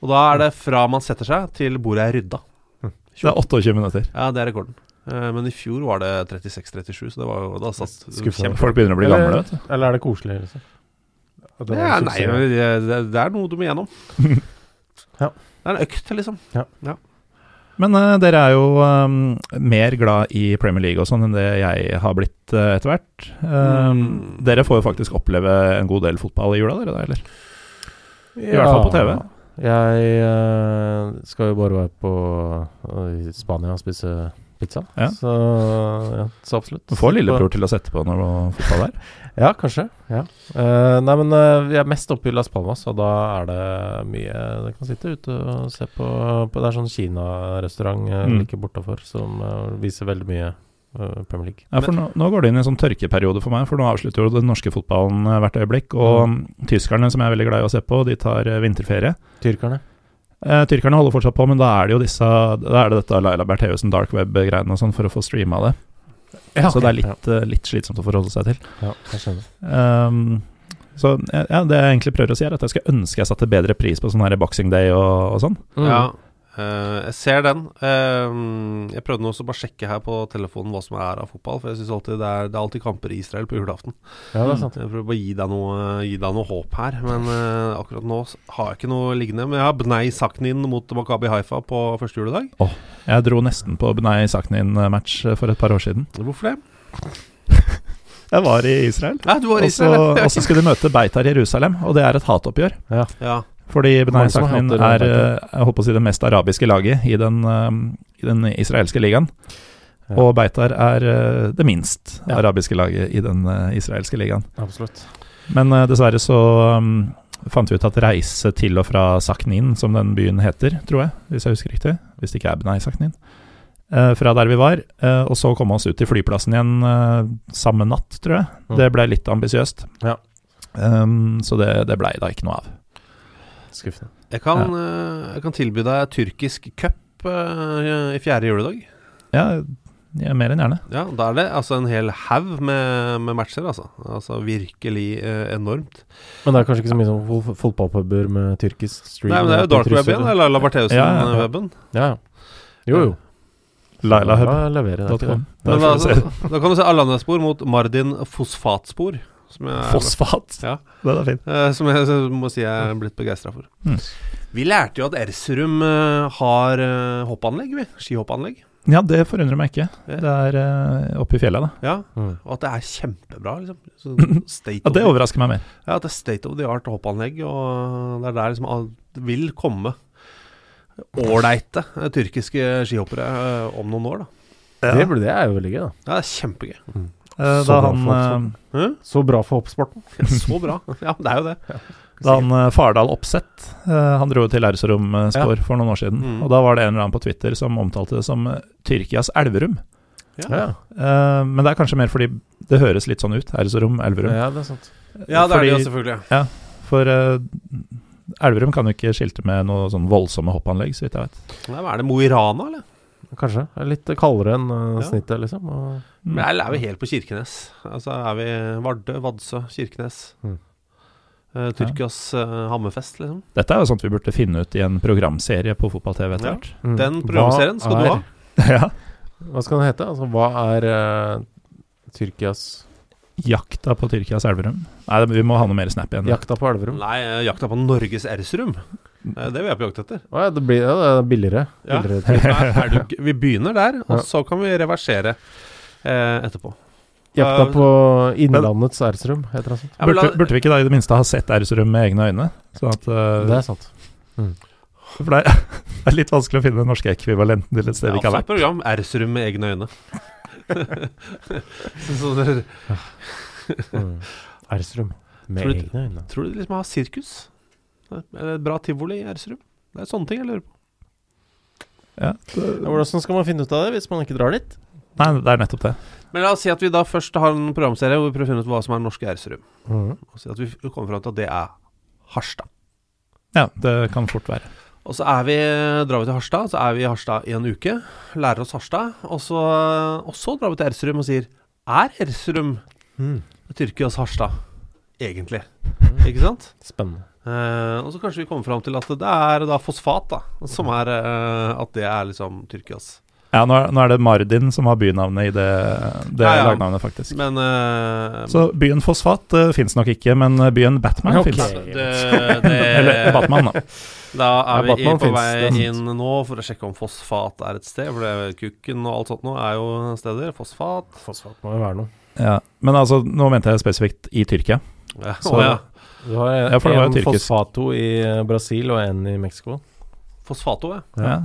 og da er det fra man setter seg til bordet er rydda. Det er 28 minutter. Ja, det er rekorden. Eh, Men i fjor var det 36-37, så det var jo da satt Skuffende. Folk begynner å bli gamle. vet du. Eller, eller er det koselig? Liksom? At det var en Ja, nei, suksess. men det, det, det er noe du må gjennom. Ja. Det er en økt, liksom. Men eh, dere er jo eh, mer glad i Premier League og sånn enn det jeg har blitt eh, etter hvert. Eh, Mm. Dere får jo faktisk oppleve en god del fotball i jula, dere da, eller? I hvert fall på TV. Jeg eh, skal jo bare være på eh, i Spania og spise pizza. Ja. Så ja, så absolutt. Du får lillebror til å sette på når det er fotball der. Ja, kanskje. Ja. Eh, nei, men eh, vi er mest oppe i Las Palmas, og da er det mye Dere kan sitte ute og se på, på Det er sånn Kina-restaurant eh, Mm. like bortafor som eh, viser veldig mye eh, Premier League. Ja, for nå, nå går det inn i en sånn tørkeperiode for meg, for nå avslutter jo den norske fotballen eh, hvert øyeblikk. Og mm, tyskerne, som jeg er veldig glad i å se på, de tar eh, vinterferie. Tyrkerne. Eh, tyrkerne holder fortsatt på, men da er det jo disse Da er det dette Laila Bertheussen dark web-greiene og sånn for å få streama det. Så det er Ja, litt, eh, litt slitsomt å forholde seg til. ja, jeg skjønner. Ehm, så ja, ja, det jeg egentlig prøver å si, er at jeg skulle ønske jeg satte bedre pris på sånn her Boxing Day og, og sånn. Mm. Ja. Eh, jeg ser den. Eh, jeg prøvde nå også bare sjekke her på telefonen hva som er av fotball, for jeg synes alltid det er, det er alltid kamper i Israel på julaften. ja, det er sant. Jeg prøver bare å gi deg noe, gi deg noe håp her, men eh, akkurat nå s- har jeg ikke noe liggende. Men jeg har Bnei Saknin mot Makabi Haifa på første juledag. Jeg dro nesten på Benay Saknin-match eh, for et par år siden. Hvorfor det? Jeg var i Israel. Nei, du var i Og så Israel. ja. og så skulle de møte Beitar Jerusalem, og det er et hatoppgjør. Ja. Fordi Benay Mange som har Saknin hatt det, er Beitar. eh, jeg holdt på å si, det mest arabiske laget i den, eh, i den israelske ligaen. Ja. Og Beitar er eh, det minst Ja. arabiske laget i den eh, israelske ligaen. Absolutt. Men eh, dessverre så um, fant vi ut at reise til og fra Saknin, som den byen heter, tror jeg, hvis jeg husker riktig, hvis det ikke er Benai Saknin, eh, fra der vi var, eh, og så komme oss ut til flyplassen igjen eh, samme natt, tror jeg. Mm. Det ble litt ambisiøst. Ja. Um, så det, det blei da ikke noe av. Skuffende. Jeg kan, eh, jeg kan tilby deg tyrkisk cup eh, i fjerde juledag. Ja, ja mer enn gjerne. Ja, Da er det altså en hel haug med, med matcher, altså. Altså virkelig eh, enormt. Men det er kanskje ikke så mye som fo- fotballpuber med tyrkisk stream? eh, Nei, men det og er jo at de darkweb igjen, trusser- Ja, eller eh, ja, ja. Labertheussen-weben. Ja, ja. Jo, jo. Lailahub.com. Da leverer jeg ikke det. Der Men får du altså, se. da kan du se Alanya-spor mot Mardin fosfatspor. Som jeg, Fosfat. Ja. Den er fin. eh, som jeg så må si jeg er blitt begeistra for. Mm. Vi lærte jo at Erserum eh, har eh, hoppanlegg, vi. Skihoppanlegg. Ja, det forundrer meg ikke. Det er eh, oppe i fjellet, da. Ja, Mm. Og at det er kjempebra, liksom. Sånn state Ja, of det the- overrasker meg mer. Ja, at det er state of the art hoppanlegg, og det er der liksom all- det vil komme ålreite eh, tyrkiske skihoppere eh, om noen år, da. Det, burde- det er jo veldig gøy, da. Ja, det er kjempegøy. Eh, Så Da bra han, folk som- eh, Hæ? Så bra for hoppsporten. Så bra. Ja, det er jo det. Da han eh, Fardal Opseth eh, Han dro jo til Lauserum eh, Spor for noen år siden. Mm. Og da var det en eller annen på Twitter som omtalte det som eh, Tyrkias Elverum. Ja. Eh, men det er kanskje mer fordi det høres litt sånn ut. Elserum, Elverum. Ja, det er sant. Ja, det er det jo Fordi- selvfølgelig. For eh, Elverum kan jo ikke skilte med noe sånn voldsomme hoppanlegg, så vidt jeg vet. Nei, men Er det Mo i Rana, eller? Kanskje. Det er Litt kaldere enn eh, Ja. snittet, liksom. Og Mm. Men er, er vi helt på Kirkenes? Altså er vi Vardø, Vadsø, Kirkenes. Mm. Eh, Tyrkias eh, Hammerfest, liksom. Dette er jo sånt vi burde finne ut i en programserie på fotball-TV etter Ja. hvert. Mm. Den programserien skal du er- ha. Ja. Hva skal den hete? Altså, hva er eh, Tyrkias Jakta på Tyrkias Elverum. Nei, det- vi må ha noe mer snap igjen. Jakta på Elverum? Å Nei, eh, jakta på Norges Ersrum. Eh, Det vil jeg på jakt etter. ja, det blir ja, det er billigere. Ja. billigere Nei, er du, g- vi begynner der, Ja. og så kan vi reversere eh, etterpå. Jakta Eh, på Innlandets Ersrum, heter det sånt. Ja, men la- Burde, burde vi ikke da i det minste ha sett Erserum med egne øyne? Sånn at eh, Det er sant. For det er, det er litt vanskelig å finne den norske ekvivalenten til et sted Ja, vi ikke har altså, vært. program Ersrum med egne øyne. så, så dere Mm. Ersrum. Med Tror du- egne øyne. tror du de liksom har sirkus? Eh, Eller et bra tivoli i Ersrum? Det er sånne ting jeg lurer på. Ja. Ja, Hvordan skal man finne ut av det hvis man ikke drar dit? Nei, det er nettopp det. Men la oss si at vi da først har en programserie hvor vi prøver å finne ut hva som er norske Ersrum. Mm. Og si at vi kommer fram til at det er Harstad. Ja, det kan fort være. Og så er vi, drar vi til Harstad, så er vi i Harstad i en uke. Lærer oss Harstad. Og så, eh, og så drar vi til Ersrum og sier Er Ersrum Mm. Tyrkias Harstad, egentlig? Ikke sant? Spennende. Eh, og så kanskje vi kommer fram til at det er da fosfat, da. Som er eh, At det er liksom Tyrkias. Ja, nå er, nå er det Mardin som har bynavnet i det, det Ja, ja. lagnavnet, faktisk. Men eh, Så byen Fosfat uh, fins nok ikke, men byen Batman Ok. fins. det, det, Eller eh, Batman, da. Da Ja, er vi i- Batman på finnes, vei det er sant. inn nå for å sjekke om fosfat er et sted. For det, kukken og alt sånt nå er jo steder. Fosfat. Fosfat må jo være noe. Ja. Men altså, nå mente jeg spesifikt i Tyrkia. Ja, Så- å ja. Du har en, Ja, for det var jo en tyrkisk. fosfato i eh, Brasil og en i Mexico. Fosfato, ja. Ja.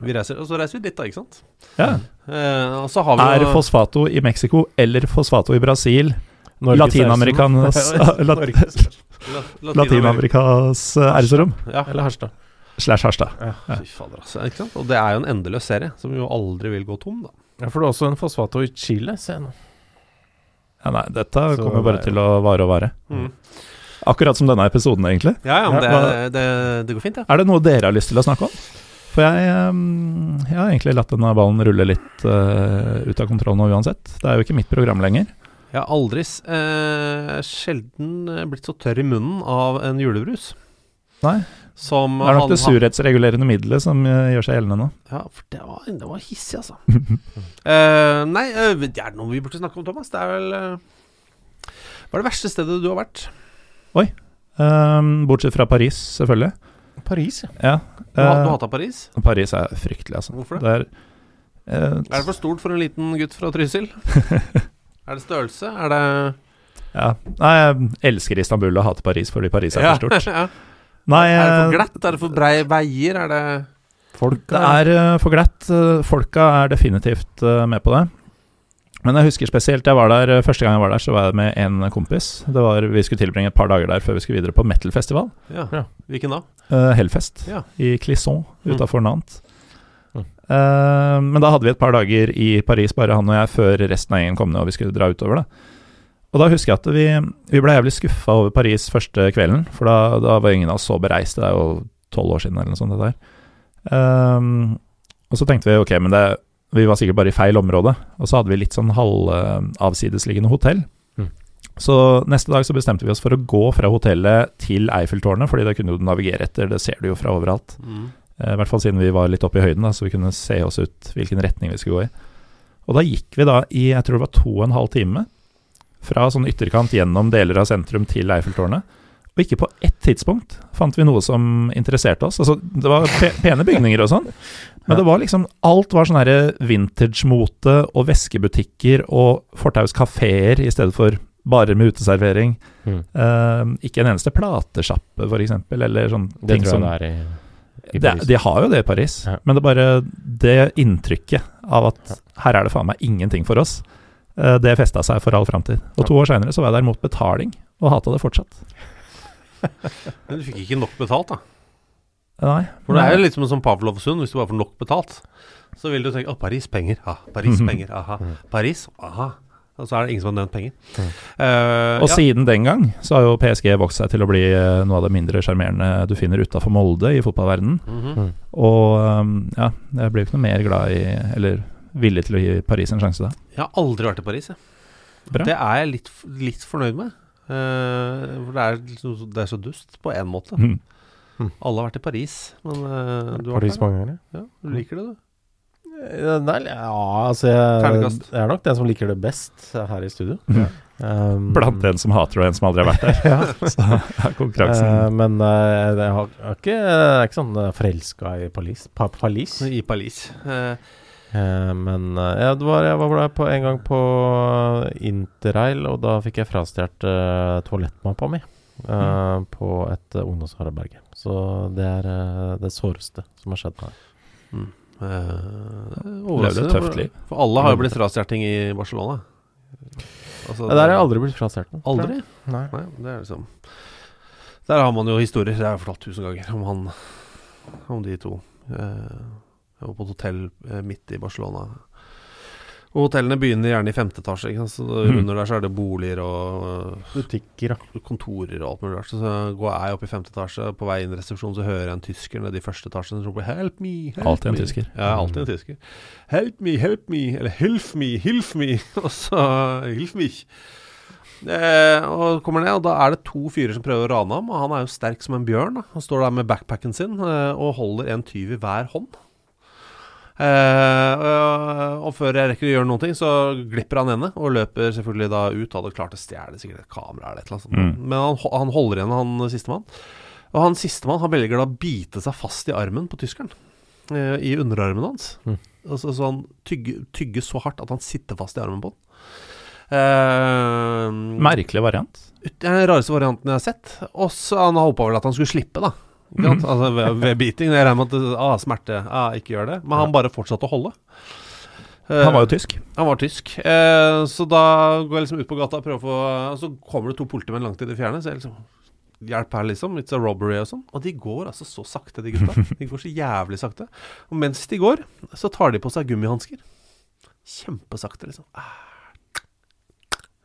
Vi reiser, og så reiser vi dit, da, ikke sant? Ja. Eh, og så har vi Er jo fosfato i Mexico eller fosfato i Brasil Norges Latinamerikas- Ersrum. lat- Norges Ersrum. La- Latin-Amerikas uh, Erserum? Ja, Eller Harstad. Slash Harstad. fy fader, altså. Ikke sant? Og det er jo en endeløs serie, som jo aldri vil gå tom, da. Ja, for det er også en fosfato i Chile, ser jeg nå. Ja, nei, dette Så kommer nei. bare til å vare og vare. Mm. Akkurat som denne episoden, egentlig. Ja, ja, men Ja, det, er- det, det går fint, ja. Er det noe dere har lyst til å snakke om? For jeg, ehm, jeg har egentlig latt denne ballen rulle litt eh, ut av kontroll nå uansett. Det er jo ikke mitt program lenger. Jeg har aldri s- eh, sjelden eh, blitt så tørr i munnen av en julebrus. Nei. Som Det er nok han- det surhetsregulerende middelet som eh, gjør seg gjeldende nå. Ja, for det var, det var hissig, altså. Eh, nei, eh, det er noe vi burde snakke om, Thomas. Det er vel eh, Hva er det verste stedet du har vært? Ehm, bortsett fra Paris, selvfølgelig. Paris, ja. Ja. Du, har- du eh, hata Paris? Paris er fryktelig, altså. Hvorfor det? Det er, eh, Er det for stort for en liten gutt fra Trysil? er det størrelse? Er det ja. Nei, jeg elsker Istanbul og hater Paris fordi Paris er for stort. ja. Nei, Er det for eh, glatt? Er det for brei veier? Er det Folk Det er eh, for glatt. Eh, Folka er definitivt eh, med på det. Men jeg husker spesielt jeg var der, eh, første gang jeg var der, så var jeg med en kompis. Det var, vi skulle tilbringe et par dager der før vi skulle videre på metalfestival. ja. Ja. Hvilken da? eh, Hellfest Ja. i Clisson Mm. utafor Nantes. Mm. Eh, men da hadde vi et par dager i Paris, bare han og jeg, før resten av gjengen kom ned og vi skulle dra utover. da Og da husker jeg at vi, vi ble jævlig skuffa over Paris første kvelden, for da, da var ingen av oss så bereist. Det er jo tolv år siden eller noe sånt. dette her Ehm, og så tenkte vi ok, men det, vi var sikkert bare i feil område. Og så hadde vi litt sånn halvavsidesliggende hotell. Mm. Så neste dag så bestemte vi oss for å gå fra hotellet til Eiffeltårnet, fordi det kunne du navigere etter, det ser du jo fra overalt. Eh, I hvert fall siden vi var litt oppe i høyden, da, så vi kunne se oss ut hvilken retning vi skulle gå i. Og da gikk vi da i jeg tror det var to og en halv time fra sånn ytterkant gjennom deler av sentrum til Eiffeltårnet. Og ikke på ett tidspunkt fant vi noe som interesserte oss. Altså, det var pe pene bygninger og sånn, Men det var liksom Alt var sånn herre vintage-mote og veskebutikker og fortauskafeer i stedet for barer med uteservering. Mm. Eh, ikke en eneste platesjappe, f.eks., eller sånn Det ting tror jeg som det er i, i det, Paris. de har jo det i Paris, Ja. men det er bare det inntrykket av at her er det faen meg ingenting for oss, eh, det festa seg for all framtid. Og to år seinere så var jeg der mot betaling, og hata det fortsatt. Men du fikk ikke nok betalt, da. Eh, Nei. For det er jo litt som en sånn Pavlov-sund, hvis du bare får nok betalt, så vil du tenke 'Å, Paris, penger'. Ah, Paris, penger. Aha. Paris, aha. Og så er det ingen som har nevnt penger. Eh, Og ja. siden den gang så har jo PSG vokst seg til å bli eh, noe av det mindre sjarmerende du finner utafor Molde i fotballverdenen. Mhm. Og um, ja, jeg blir jo ikke noe mer glad i, eller villig til å gi Paris en sjanse da. Jeg har aldri vært i Paris, jeg. Bra. Det er jeg litt, f- litt fornøyd med. Eh, for det er, liksom, så- det er så dust, på én måte. Mhm. Alle har vært i Paris, men eh, du, har vært Paris der, da? mange ganger. ja. ja, du liker det, du. Eh, Nei, ja, altså jeg, Ternekast. jeg er nok den som liker det best her i studio. Ja. Um, Blant en som hater og en som aldri har vært der. Så er eh, konkurransen men eh, jeg har, jeg har ikke, jeg er ikke sånn eh, forelska i Paris. Pa Paris. I Paris. Eh, Eh, men eh, ja, det var, jeg var der på, en gang på eh, interrail, og da fikk jeg frastjålet eh, toalettmappa mi. eh, På et eh, ungdomsherberge. Så det er eh, det såreste som har skjedd meg. eh, det er levde overraskende, et tøft liv. for, for alle har jo blitt frastjerting i Barcelona. Altså, Ja, der har jeg aldri blitt frastjålet. noe, tror jeg. Aldri? Nei. Nei, det er liksom Der har man jo historier. Det har jeg fortalt tusen ganger om han Om de to. Eh, Jeg var på et hotell eh, midt i Barcelona. Og hotellene begynner gjerne i femte etasje. Ikke sant? Så da- Mm. under der så er det boliger og Butikker, da. eh, kontorer og alt mulig rart. Så, så går jeg opp i femte etasje, på vei inn i resepsjonen så hører jeg en tysker nede i første etasje som roper 'help me'. Help Alltid en me». tysker. Mm. Ja, alltid en tysker. 'Help me, help me', eller 'hilf me, hilf me', og så 'hilf mich'. Eh, og kommer ned, og da er det to fyrer som prøver å rane ham, og han er jo sterk som en bjørn. Da. Han står der med backpacken sin eh, og holder en tyv i hver hånd. Eh, og, og før jeg rekker å gjøre noen ting, så glipper han henne og løper selvfølgelig da ut. Hadde klart å stjele sikkert et kamera eller et eller annet sånt. Mm. Men han, ho- han holder igjen han sistemann. Og han sistemann han velger da å bite seg fast i armen på tyskeren. eh, I underarmen hans. Mm. Og så, så han tygger, tygger så hardt at han sitter fast i armen på den. Eh, Merkelig variant. ut- Det er den rareste varianten jeg har sett. Og så han håpa vel at han skulle slippe, da. Ikke sant? Mhm. Altså ved, ved biting. Jeg regner med at ah, smerte, ah, ikke gjør det. Men han bare fortsatte å holde. Eh, Han var jo tysk. han var tysk. Eh, så da går jeg liksom ut på gata og prøver å få Og så kommer det to politimenn langt i det fjerne. Så jeg liksom Hjelp her, liksom. It's a robbery og sånn. Og de går altså så sakte, de gutta. De går så jævlig sakte. Og mens de går, så tar de på seg gummihansker. Kjempesakte, liksom.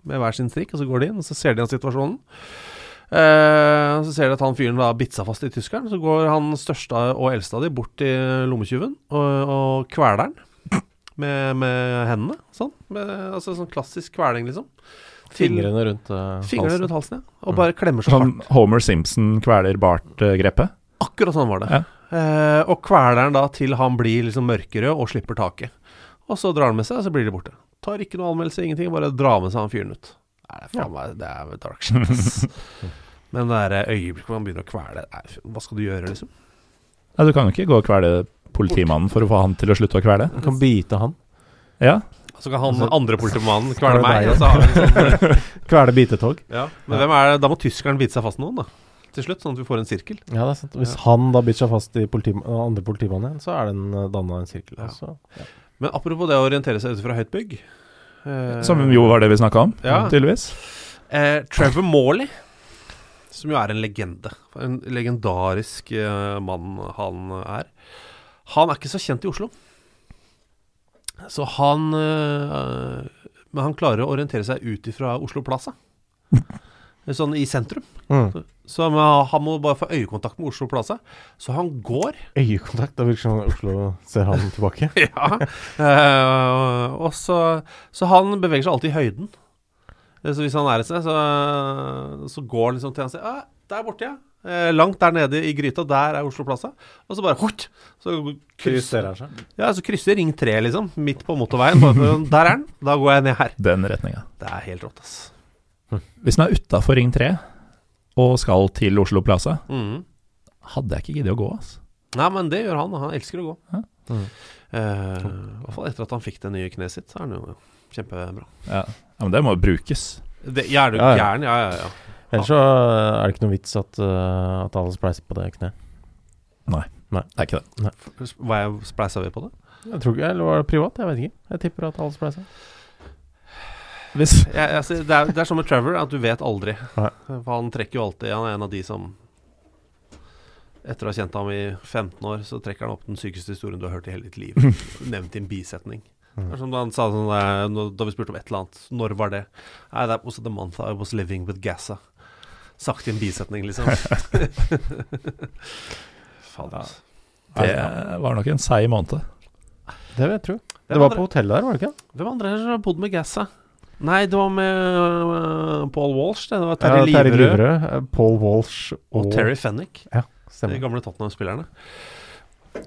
Med hver sin strikk, og så går de inn, og så ser de an situasjonen. Eh, og så ser de at han fyren da har bitt seg fast i tyskeren. Så går han største og eldste av de bort til lommetyven og, og kveler han med, med hendene. Sånn. Med, altså sånn klassisk kveling, liksom. Til- Fingrene rundt eh, halsen. Fingrene rundt halsen, ja. Og bare klemmer så Sånn hardt. Homer Simpson kveler eh, Bart-grepet. Akkurat sånn var det. Ja. Eh, og kveler den da til han blir liksom mørkerød og slipper taket. Og så drar han med seg, og så blir de borte. Tar ikke noe anmeldelse, ingenting. Bare drar med seg han fyren ut. Nei, det er faen meg Det er dark shit, ass. Men det der øyeblikket hvor han begynner å kvele nei, Hva skal du gjøre, liksom? Nei, du kan jo ikke gå og kvele politimannen for å få han til å slutte å kvele. Du kan bite han. Ja, Så kan han andre politimannen Altså, er kvele det meg. deg, altså? Og så har vi en sånn, Kvele bitetog. ja. Men hvem er det? Da må tyskeren bite seg fast noen, da. Til slutt, sånn at vi får en sirkel. Ja, det er sant. Hvis han da biter seg fast i politi eh, andre politimannen igjen, så er den danna en sirkel. Ja. Altså. Men apropos det å orientere seg ut fra høyt bygg eh, Som jo var det vi snakka om, Ja. tydeligvis. Eh, Trevor Morley, som jo er en legende. En legendarisk eh, mann han er. Han er ikke så kjent i Oslo. Så han eh, Men han klarer å orientere seg ut ifra Oslo Plaza. Sånn i sentrum. Mm. Så han han må bare få øyekontakt med Oslo Plaza. Så han går Øyekontakt. Da virker det som om Oslo ser han tilbake. ja. Eh, og så, så han beveger seg alltid i høyden. Eh, Så hvis han er et sted, så, så går han liksom til han sier ah, Der borte, ja. Eh, langt der nede i gryta, der er Oslo Plaza. Og så bare hort, så krysser, han seg. ja, så krysser Ring 3, liksom. Midt på motorveien. Bare for, der er den. Da går jeg ned her. Den retninga. Det er helt rått, ass. Hvis den er utafor Ring 3 og skal til Oslo Plaza, Mhm. hadde jeg ikke giddet å gå, altså. Nei, men det gjør han. Han elsker å gå. Ja. Mm. Eh, I hvert fall etter at han fikk det nye kneet sitt, så er han jo kjempebra. Ja. ja, men det må jo brukes. Det, ja, er du Ja, ja. gæren? Ja, ja, ja. Ellers så er det ikke noe vits at, eh, at alle spleiser på det kneet. Det er ikke det. Var jeg spleisa vi på det? Jeg tror ikke, Eller var det privat? Jeg vet ikke. Jeg tipper at alle spleiser. Hvis, Jeg, jeg, sier, altså, det, er, det er som med Trevor, at du vet aldri. Nei. For han trekker jo alltid Han er en av de som Etter å ha kjent ham i 15 år, så trekker han opp den sykeste historien du har hørt i hele ditt liv. Nevnt i en bisetning. Det er Som da han sa sånn der, nå- Da vi spurte om et eller annet, når var det? Nei, det was the month I was living with Gaza. Sagt i en bisetning, liksom. Faen, altså. det var nok en seig måned. Det vil jeg tro. Hvem Det var andre- på hotellet der, var det ikke? Hvem andre er det som har bodd med Gaza? Nei, det var med øh, Paul Walsh. Det, det var Ja, Terje Liverød eh, Paul Walsh og, og Terry Fennick. De Stemmer. gamle Tottenham-spillerne.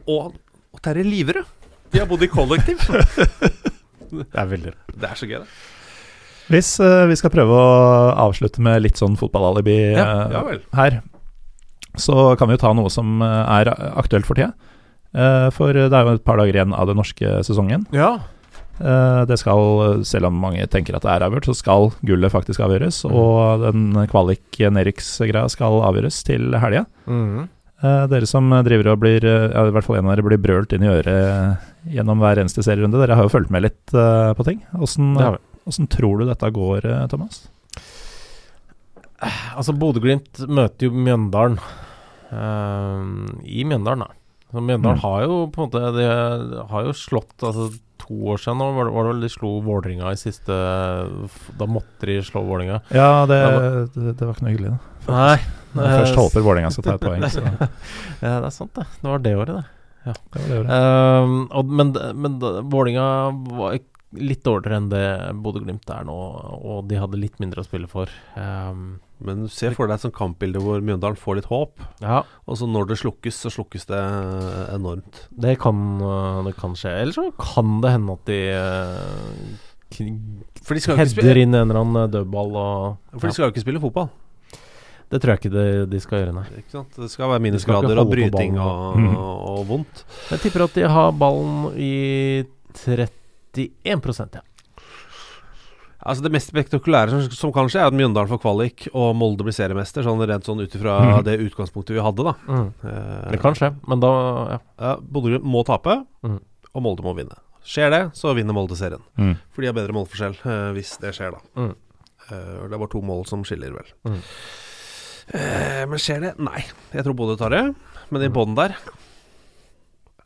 Og, og Terje Liverød! De har bodd i kollektiv. Det er veldig Det er så gøy, det. Hvis eh, vi skal prøve å avslutte med litt sånn fotballalibi eh, ja vel. her, så kan vi jo ta noe som eh, er aktuelt for tida. Eh, For det er jo et par dager igjen av den norske sesongen. Ja. Eh, Det skal, selv om mange tenker at det er avgjort, så skal gullet faktisk avgjøres. Mm. Og den kvalik-Neriks-greia skal avgjøres til helga. Mhm. Eh, Dere som driver og blir eh, ja, i hvert fall en av dere blir brølt inn i øret eh, gjennom hver eneste serierunde, dere har jo fulgt med litt eh, på ting. Åssen Det har vi. åssen tror du dette går, eh, Thomas? Altså, Bodø-Glimt møter jo Mjøndalen ehm, i Mjøndalen, da. Så Mjøndalen Mm. har jo på en måte De har jo slått altså, To år siden nå var det, var det vel de slo Vålerenga i siste Da måtte de slå Vålerenga. Ja, det, Ja, det, det var ikke noe hyggelig, da. Nei, Eh, Når jeg først håper Vålerenga skal ta et poeng, så det ja, det er sant, det. Det var det året, det. var det. året. Ehm, og, men men da- Vålinga var litt dårligere enn det Bodø-Glimt er nå, og de hadde litt mindre å spille for. Ehm, Men se for deg et sånt kampbilde hvor Mjøndalen får litt håp, ja, og så når det slukkes, så slukkes det enormt. det kan, øh, det kan skje. Eller så kan det hende at de øh, kn- For de skal jo ikke header spille, inn en eller annen eh, dødball og for de skal jo ikke spille fotball. Det tror jeg ikke de, de skal gjøre, nei. Ikke sant? Det skal være De skal ikke minusgrader og holde Mhm. på bryting og, ballen. og vondt. Jeg tipper at de har ballen i 31 ja. Altså Det mest spektakulære som, som kan skje, er at Mjøndalen får kvalik og Molde blir seriemester, sånn rent sånn ut ifra Mhm. det utgangspunktet vi hadde, da. Mm. Eh, Det kan skje, men da ja. Ja, Bodø Eh, må tape, Mhm. og Molde må vinne. Skjer det, så vinner Molde serien. Mm. For de har bedre målforskjell, eh, hvis det skjer, da. Mhm. Eh, og det er bare to mål som skiller, vel. Mhm. Eh, men skjer det? Nei. Jeg tror Bodø tar det, men i bånn der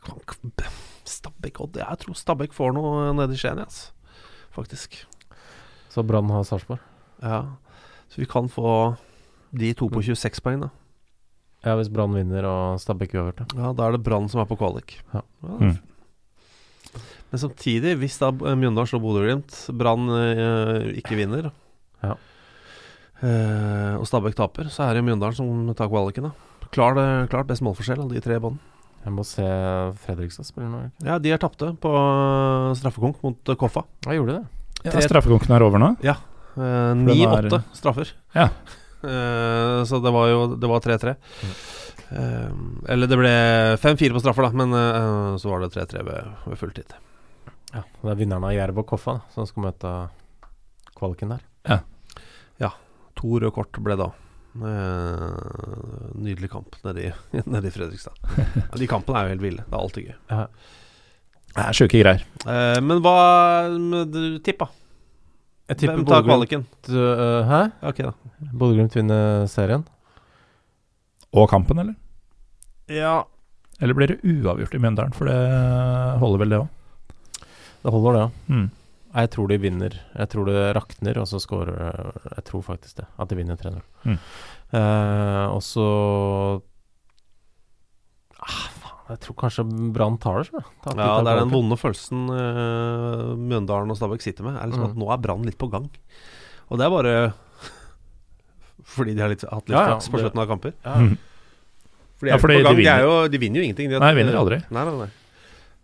kan ikke- Stabæk Odd Jeg tror Stabæk får noe nede i Skien, jeg, altså. Faktisk. Så Brann har Sarpsborg. Ja. Så vi kan få de to på 26 poeng, da. Ja, hvis Brann vinner og Stabæk uavgjort, ja. Ja, da er det Brann som er på kvalik. Ja. det er Mm. f- Men samtidig, hvis da eh, Mjøndalen slår Bodø-Glimt, Brann eh, ikke vinner, Ja. eh, og Stabæk taper, så er det Mjøndalen som tar kvaliken. da. Klar, eh, klart best målforskjell av de tre i bånn. Jeg må se Fredrikstad spille nå. ikke? Ja, de er tapte på eh, straffekonk mot eh, Koffa. Ja, gjorde det. Ja, altså, tre- Straffekonken er over nå. Eh, den er- 9-8 straffer. Ja. Eh, så det var jo det var 3-3. Eh, eller det ble 5-4 på straffer, da, men eh, så var det 3-3 ved, ved fulltid. Ja, Det er vinneren av Jerv og Koffa da, som skal møte kvaliken der. To røde kort ble da. Eh, nydelig kamp nede i, nede i Fredrikstad. Ja, de kampene er jo helt ville. Det er alltid gøy. Det er sjuke greier. Eh, men hva men du, Tipp, da. Jeg tipper Hvem tar Bodø-Glimt kvaliken? øh, Hæ? Ja, Ok, da. Bodø-Glimt vinner serien? Og kampen, eller? Ja. Eller blir det uavgjort i Mjøndalen? For det eh, holder vel, det òg. Det holder, det, ja. Mm. Nei, Jeg tror de vinner. Jeg tror det rakner, og så scorer øh, Jeg tror faktisk det. At de vinner 3-0. Mm. Eh, og så ah, faen, Jeg tror kanskje Brann tar det, så. Ja, det er den vonde følelsen eh, Mjøndalen og Stabæk sitter med. Er liksom Mm. at Nå er Brann litt på gang. Og det er bare fordi de har litt, hatt litt Ja, ja, flaks på det- slutten av kamper. Ja. Mm. For de Ja, er jo fordi på gang. de De, er jo, de vinner jo ingenting. Nei, vinner aldri. Nei, nei, nei.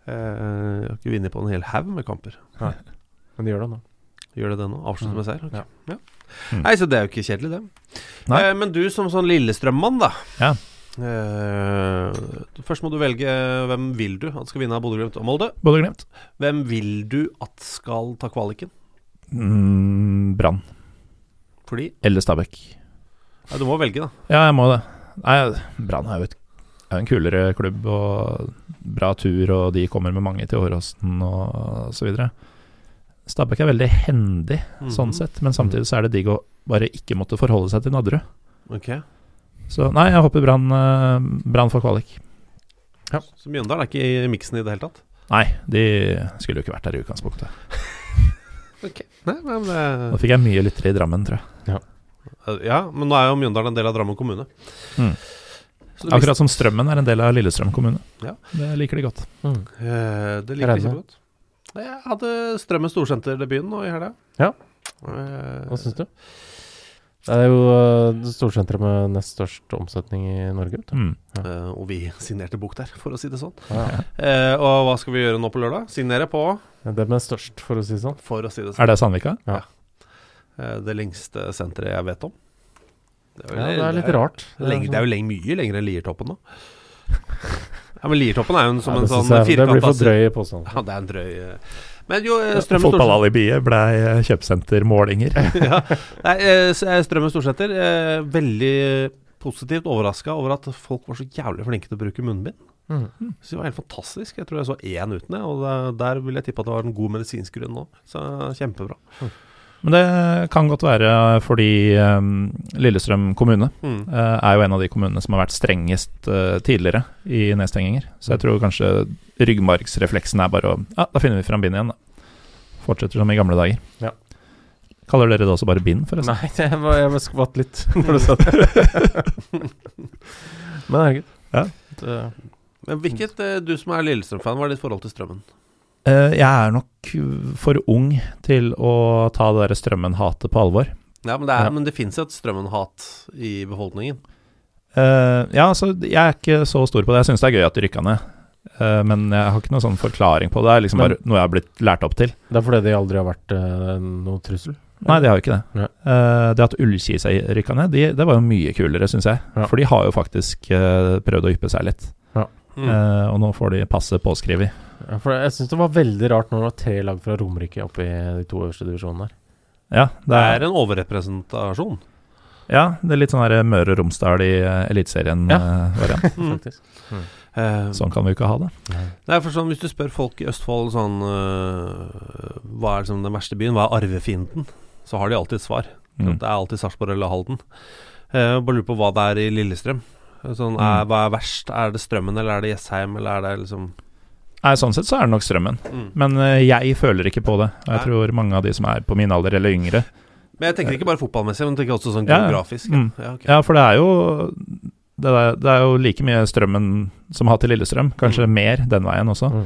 Eh, de har ikke vunnet på en hel haug med kamper. Men de gjør det nå. Gjør det det nå? Avslutte Mm. med seier? Ok. Ja. Ja. Mm. Nei, så det er jo ikke kjedelig, det. Nei. Eh, men du som sånn Lillestrøm-mann, da. Ja. Eh, først må du velge eh, hvem vil du at skal vinne av Bodø, Glimt og Molde. Bodø-Glimt. Hvem vil du at skal ta kvaliken? Mm, Brann Fordi eller Stabæk. ja, Du må velge, da. Ja, jeg må det. Nei, Brann er jo et, er en kulere klubb og bra tur, og de kommer med mange til Åråsen og så videre. Stabæk er veldig hendig Mhm. Mm. sånn sett, men samtidig så er det digg å bare ikke måtte forholde seg til Nadderud. Ok Så nei, jeg håper Brann eh, Brann får kvalik. Så Mjøndalen er ikke i miksen i det hele tatt? Nei, de skulle jo ikke vært der i utgangspunktet. Nei, men eh, Nå fikk jeg mye lyttere i Drammen, tror jeg. Ja, men nå er jo Mjøndalen en del av Drammen kommune. Mm. Så det, Akkurat som Strømmen er en del av Lillestrøm kommune. Ja. Det liker de godt. Mm. likte- eh, det liker jeg Regne. kjempegodt. Nei, Jeg hadde Strømmen storsenterdebuten nå i helga. Ja. Eh, Hva syns du? Det er jo eh, det storsenteret med nest størst omsetning i Norge. Vet du. Mm. eh, og vi signerte bok der, for å si det sånn. Ja. Eh, og hva skal vi gjøre nå på lørdag? Signere på, Det med størst, for å si det sånn. for å si det sånn. Er det Sandvika? Eh, det lengste senteret jeg vet om. Det Ja, det er litt rart. Lenge, det er jo leng, mye lenger enn Liertoppen nå. Ja, men Liertoppen er jo en, som Ja, en det sånn synes jeg- Det blir firkanta for drøye påstander. Ja, det er en drøy eh. Men jo, eh, Strømmen Storsenter Fotballalibiet blei kjøpesentermålinger. ja. Nei, eh, s- eh, Strømmen Storsenter eh, Veldig positivt overraska over at folk var så jævlig flinke til å bruke munnbind. Mhm. Så det var helt fantastisk. Jeg tror jeg så én uten det, og der, der vil jeg tippe at det var en god medisinsk grunn nå. Så kjempebra. Men det kan godt være fordi um, Lillestrøm kommune Mm. eh, er jo en av de kommunene som har vært strengest eh, tidligere i nedstenginger. Så jeg tror kanskje ryggmargsrefleksen er bare å Ja, da finner vi fram bind igjen, da. Fortsetter som i gamle dager. Ja. Kaller dere det også bare bind, forresten? Nei, jeg, var, jeg var skvatt litt når du sa det. Men herregud. Ja. Det, Men hvilket, eh, du som er Lillestrøm-fan, hva er ditt forhold til Strømmen? Eh, jeg er nok for ung til å ta det derre strømmen-hatet på alvor. Ja, Men det, er, Ja. men det fins et Strømmen-hat i befolkningen. Eh, ja, altså, jeg er ikke så stor på det. Jeg syns det er gøy at de rykka ned. Eh, men jeg har ikke noen sånn forklaring på det. Det er liksom Men- bare noe jeg har blitt lært opp til. det er fordi de aldri har vært eh, noe trussel. Nei, de har jo ikke det. Nei. Eh, det at Ullkisa rykka ned, de, det var jo mye kulere, syns jeg. Ja. For de har jo faktisk eh, prøvd å yppe seg litt. Mm. Eh, og nå får de passet påskrevet. Ja, for jeg syns det var veldig rart når det var tre lag fra Romerike oppe i de to øverste divisjonene her. Ja, det er en overrepresentasjon. ja, det er litt sånn her Møre og Romsdal i eh, Eliteserien-variant. faktisk. Eh, sånn kan vi jo ikke ha det. Nei, for sånn, Hvis du spør folk i Østfold sånn øh, Hva er liksom den verste byen? Hva er arvefienden? Så har de alltid et svar. Mm. Det er alltid Sarpsborg eller Halden. Eh, bare lurer på hva det er i Lillestrøm. Sånn, er, Mm. hva er verst? Er det Strømmen, eller er det Jessheim, eller er det liksom Nei, sånn sett så er det nok strømmen. Mm. Men eh, jeg føler ikke på det. Og jeg Nei. tror mange av de som er på min alder eller yngre, Men jeg tenker ikke bare fotballmessig, men jeg tenker også sånn Ja, ja. geografisk. Mm. Ja, ok. Ja, for det er jo det er, det er jo like mye strømmen som har til Lillestrøm, kanskje mer den veien også. Mm.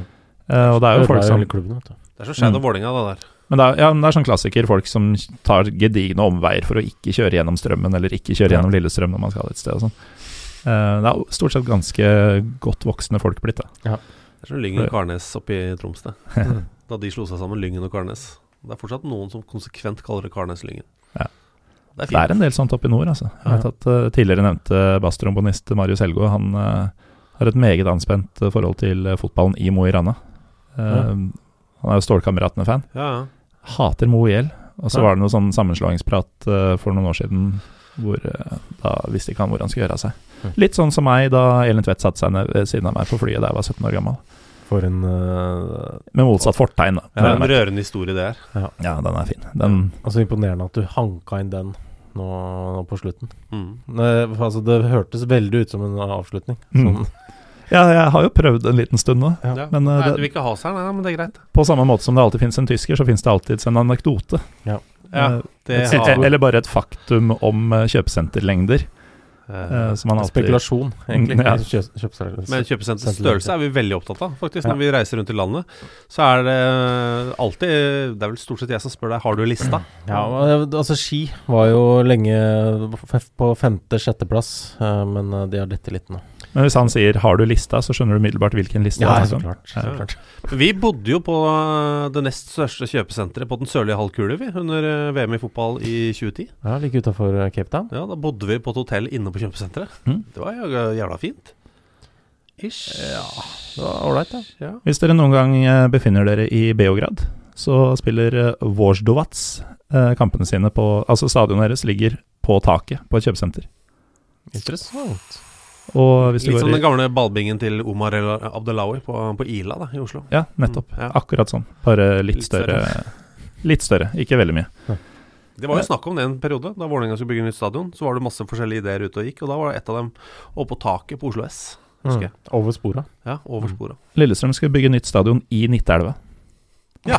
Eh, og Mm. det er jo folk som hele klubben, vet du. Det er så Skeid og Mm. Vålerenga, det der. men det er, ja, men det er sånn klassiker, folk som tar gedigne omveier for å ikke kjøre gjennom strømmen, eller ikke kjøre Ja. gjennom Lillestrøm når man skal et sted og sånn. Eh, det er jo stort sett ganske godt voksne folk blitt, da. Det er sånn Lyngen og Karnes oppe i Troms, det. Mm. da de slo seg sammen, Lyngen og Karnes. Det er fortsatt noen som konsekvent kaller det Karnes-Lyngen. Ja. Det er Det fint. er en del sånt oppe i nord, altså. Jeg vet at eh, tidligere nevnte basstrombonist Marius Helgå, han eh, har et meget anspent eh, forhold til eh, fotballen i Mo i Rana. Eh, Ja. Han er jo Stålkameratene-fan. Ja, ja. hater Mo IL. Og så Ja. var det noe sånn sammenslåingsprat eh, for noen år siden hvor eh, da visste ikke han hvor han skulle gjøre av seg. Mm. Litt sånn som meg da Elin Tvedt satte seg ned ved siden av meg på flyet da jeg var 17 år gammel. For en eh, Med motsatt fortegn, da. Det er Men- en rørende historie, det her. ja, den er fin. Den, Altså imponerende at du hanka inn den nå, nå på slutten. Mm. Nei, for altså, det hørtes veldig ut som en avslutning. Mm. Sånn. ja, jeg har jo prøvd en liten stund nå. Ja. Men eh, nei, du det, vil ikke ha seg, nei, nei, men det er greit. på samme måte som det alltid fins en tysker, så fins det alltids en anekdote. Ja, Eh, det et- har eller bare et faktum om eh, kjøpesenterlengder. eh, som man alltid Spekulasjon, egentlig. Altså, Mm, ja. Kjø- kjøpsel- Men kjøpesenterets størrelse er vi veldig opptatt av, faktisk. Når vi reiser rundt i landet, så er det eh, alltid Det er vel stort sett jeg som spør deg har du lista. Ja, og, eh, altså Ski var jo lenge f- på femte-sjetteplass, men eh, de har dette litt nå. Men hvis han sier 'har du lista', så skjønner du umiddelbart hvilken liste Ja, det er så snakk om. klart. Så klart. Vi bodde jo på eh, det nest største kjøpesenteret på den sørlige halvkule, vi, under eh, VM i fotball i 2010. Ja, Like utafor Cape Town. Ja, da bodde vi på et hotell inne på kjøpesenteret. Mm. Det var jo jævla fint. Ish. Det var Ålreit, ja. Ja. Hvis dere noen gang eh, befinner dere i Beograd, så spiller eh, Voždovac eh, kampene sine på Altså stadionet deres ligger på taket på et kjøpesenter. Interessant. Og hvis du Litt sånn som går den i gamle ballbingen til Omar El Abdelawi på, på Ila da, i Oslo. Ja, nettopp. Mm, ja. Akkurat sånn. Bare litt Litt større. Litt større, ikke veldig mye. Det var jo snakk om det en periode. Da Vålerenga skulle bygge nytt stadion, så var det masse forskjellige ideer ute og gikk, og da var det et av dem oppå taket på Oslo S. Husker Mm. jeg. Over spora. Ja, over sporet. Lillestrøm skal bygge nytt stadion i Nittelva. Ja.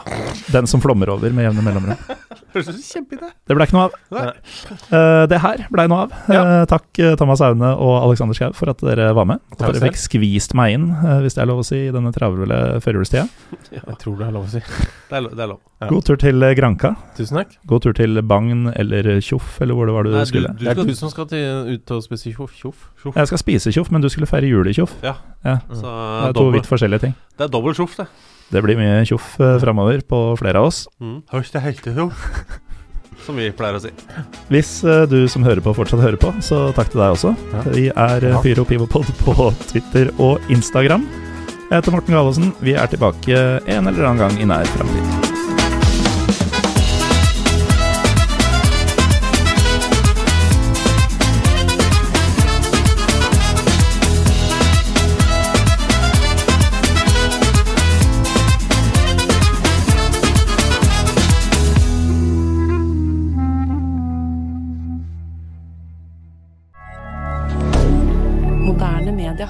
Den som flommer over med jevne mellomrom. Høres ut som en kjempeidé. Det blei ikke noe av. Nei. Eh, det her blei noe av. Eh, takk eh, Thomas Aune og Alexander Schou for at dere var med. At Takk dere selv. fikk skvist meg inn, eh, hvis det er lov å si, i denne travle førjulstida. Jeg tror det er lov å si. Det er, lo- det er lov. Ja. God tur til eh, Granka. Tusen takk. God tur til Bagn eller Tjoff, eller hvor det var du Nei, skulle. Det er skal- du som skal til, ut og spise tjoff. tjoff. Jeg skal spise Tjoff, men du skulle feire jul i Tjoff. så, Det er to dobbel, vidt forskjellige ting. det er dobbel sjoff, det. Det blir mye Tjoff eh, framover på flere av oss. Mm. Høst er heltesjoff, som vi pleier å si. Hvis eh, du som hører på, fortsatt hører på, så takk til deg også. Ja. Vi er eh, Ja. Pyro Pivopod på Twitter og Instagram. Jeg heter Morten Galaasen. Vi er tilbake en eller annen gang i nær framtid. Moderne media.